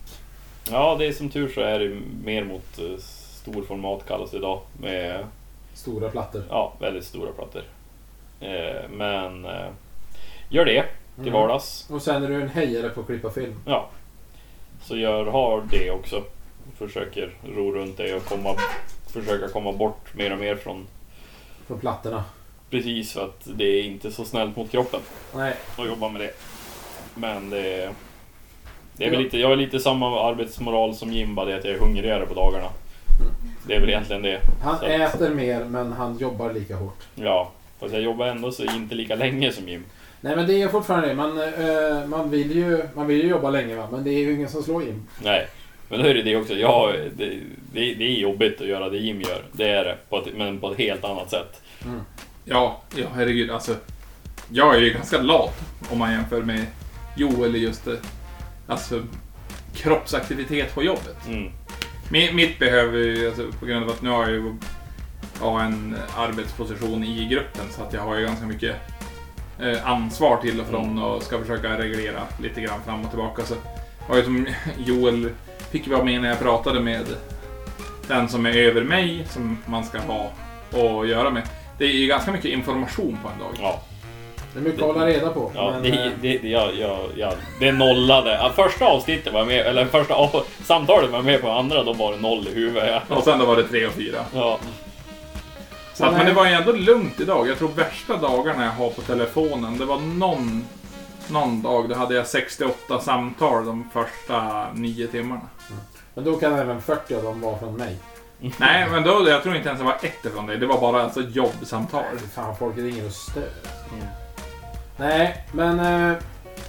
A: Ja, det är som tur så är det mer mot eh, storformat kallas det idag. Med
B: Stora plattor.
A: ja, väldigt stora plattor. Eh, Men eh, gör det till
B: Mm.
A: vardags.
B: Och sen är du en hejare på att klippa film.
A: Ja. Så jag har det också. försöker ro runt dig och komma, försöka komma bort mer och mer från
B: Från plattorna.
A: precis för att det är inte så snällt mot kroppen
B: Nej.
A: att jobba med det. Men det, det är väl lite, jag har lite samma arbetsmoral som Jim, bara det att jag är hungrigare på dagarna.
B: Mm.
A: Det är väl egentligen det.
B: Han
A: Så-
B: äter mer men han jobbar lika hårt.
A: Ja, fast jag jobbar ändå så inte lika länge som Jim.
B: Nej men det är fortfarande det. Man, eh, man, vill ju, man vill ju jobba länge va? men det är ju ingen som slår in.
A: Nej, men då är det det också. Jag, det, det, det är jobbigt att göra det Jim gör. Det är det, på ett, men på ett helt annat sätt.
C: Ja, ja herregud alltså. Jag är ju ganska lat om man jämför med Joel i just det. Alltså kroppsaktivitet på jobbet.
A: Mm.
C: Mi- Mitt behöver ju, alltså, på grund av att nu har jag ju ja, en arbetsposition i gruppen så att jag har ju ganska mycket eh, ansvar till och från och ska försöka reglera lite grann fram och tillbaka. Så har ju som Joel fick vara med när jag pratade med den som är över mig som man ska ha och göra med. Det är ju ganska mycket information på en dag.
A: Ja,
B: Det är mycket att hålla reda på.
A: ja
B: men,
A: det,
B: eh,
A: det, det, jag, jag, jag, det nollade. Ja, Första avsnittet var jag med, eller första av- samtalet var jag med på, andra då var det noll i huvudet.
C: Och sen då var det tre och fyra.
A: Ja.
C: Så att, men det var ju ändå lugnt idag. Jag tror värsta dagarna jag har på telefonen, det var någon, någon dag då hade jag 68 samtal de första nio timmarna.
B: men då kan även 40 av dem vara från mig.
C: Nej, men då, jag tror inte ens det var ett ifrån dig. Det var bara alltså jobbsamtal.
B: Fan, folk ringer och stör. Nej, men... eh,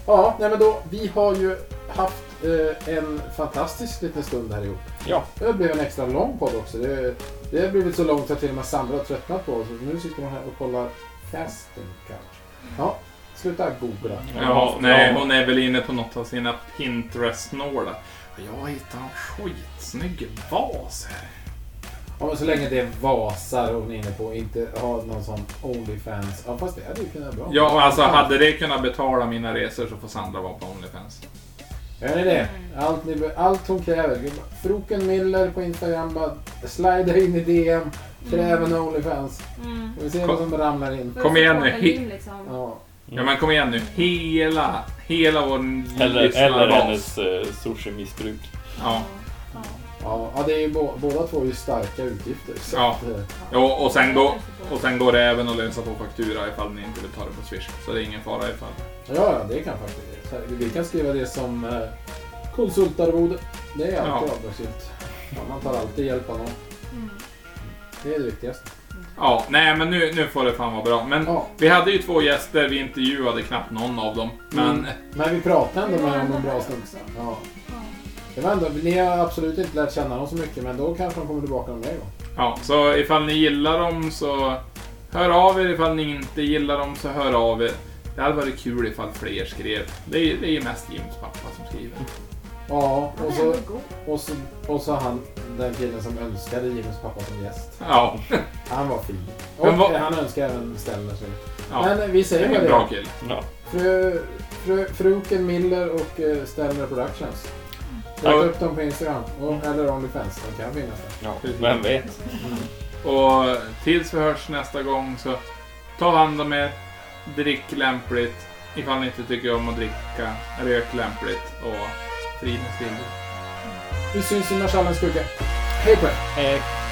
B: ja, nej, men då, vi har ju haft eh, en fantastisk liten stund här ihop.
A: Ja.
B: Det blev en extra lång podd också. Det, det har blivit så långt att jag till och med Sandra har tröttnat på oss. Nu sitter man här och kollar casten kanske. Ja, sluta googla.
C: Ja, nej, hon är väl inne på något av sina Pinterest-snålar. Jag hittade en skitsnygg vas här.
B: Ja, men så länge det är Vasar hon är inne på, inte ha någon sån Onlyfans. Ja, fast det hade ju kunnat vara bra.
C: Ja, alltså hade det kunnat betala mina resor så får Sandra vara på Onlyfans.
B: Gör ni det? Allt, ni, be- allt hon kräver. Froken Miller på Instagram bara slida in i DM. Kräv en Onlyfans.
E: Mm.
B: Vi ser vad som ramlar in.
E: För
C: Kom
E: att
C: igen nu,
E: supporta
C: hit.
E: Jim, liksom.
B: Ja.
C: Ja, men kom igen nu. Hela, hela vår
A: Eller, eller
C: lyssnarbas.
A: hennes eh, sushi-missbruk.
C: Ja.
E: Ja.
B: Ja, ja, det är ju bå- båda två är ju starka utgifter. Så
C: Ja.
B: att, eh,
C: Ja, Och, och, sen går, och sen går det även att lösa på faktura ifall ni inte vill ta det på Swish. Så det är ingen fara ifall.
B: ja, ja, det kan faktiskt. Herregud, Vi kan skriva det som eh, konsultarvode. Det är alltid
C: Ja.
B: avdragsgillt. Ja, man tar alltid hjälp av någon.
E: Mm.
B: Det är det viktigaste.
C: Ja, nej men nu, nu får det fan vara bra. Men
B: Ja,
C: vi hade ju två gäster, vi intervjuade knappt någon av dem. Men
B: Mm. men vi pratade ändå
E: Det var
B: med dem en
E: ändå
B: bra
E: här
B: stund.
E: också.
B: Ja.
E: Ja.
B: Det var ändå, ni har absolut inte lärt känna dem så mycket, men då kanske de kommer tillbaka någon mer gång.
C: ja, så ifall ni gillar dem så hör av er. Ifall ni inte gillar dem så hör av er. Det hade varit kul ifall fler skrev. Det är, det är ju mest Jims pappa som skriver.
B: Ja,
E: Han
B: och
E: är
B: så,
E: ändå god.
B: och så, och så han, den killen som önskade Jimmys pappa som gäst.
C: Ja,
B: Han var fin. Och
C: Men vad-
B: han önskar även Stellner sig.
C: ja.
B: Men vi
C: Det
B: säger
C: är
B: väl
C: en
B: det.
C: bra kille.
A: Ja.
B: Fru, fru, fruken Miller och eh, Stellner Productions.
A: Ja.
B: Leta upp dem på Instagram, och, eller Onlyfans. De kan finnas där.
A: Ja. Vem vet?
C: Och tills vi hörs nästa gång så ta hand om er, drick lämpligt ifall ni inte tycker om att dricka, rök lämpligt och fridens villor.
B: Vi syns i Marschallens skugga. Hej på er!
A: Eh,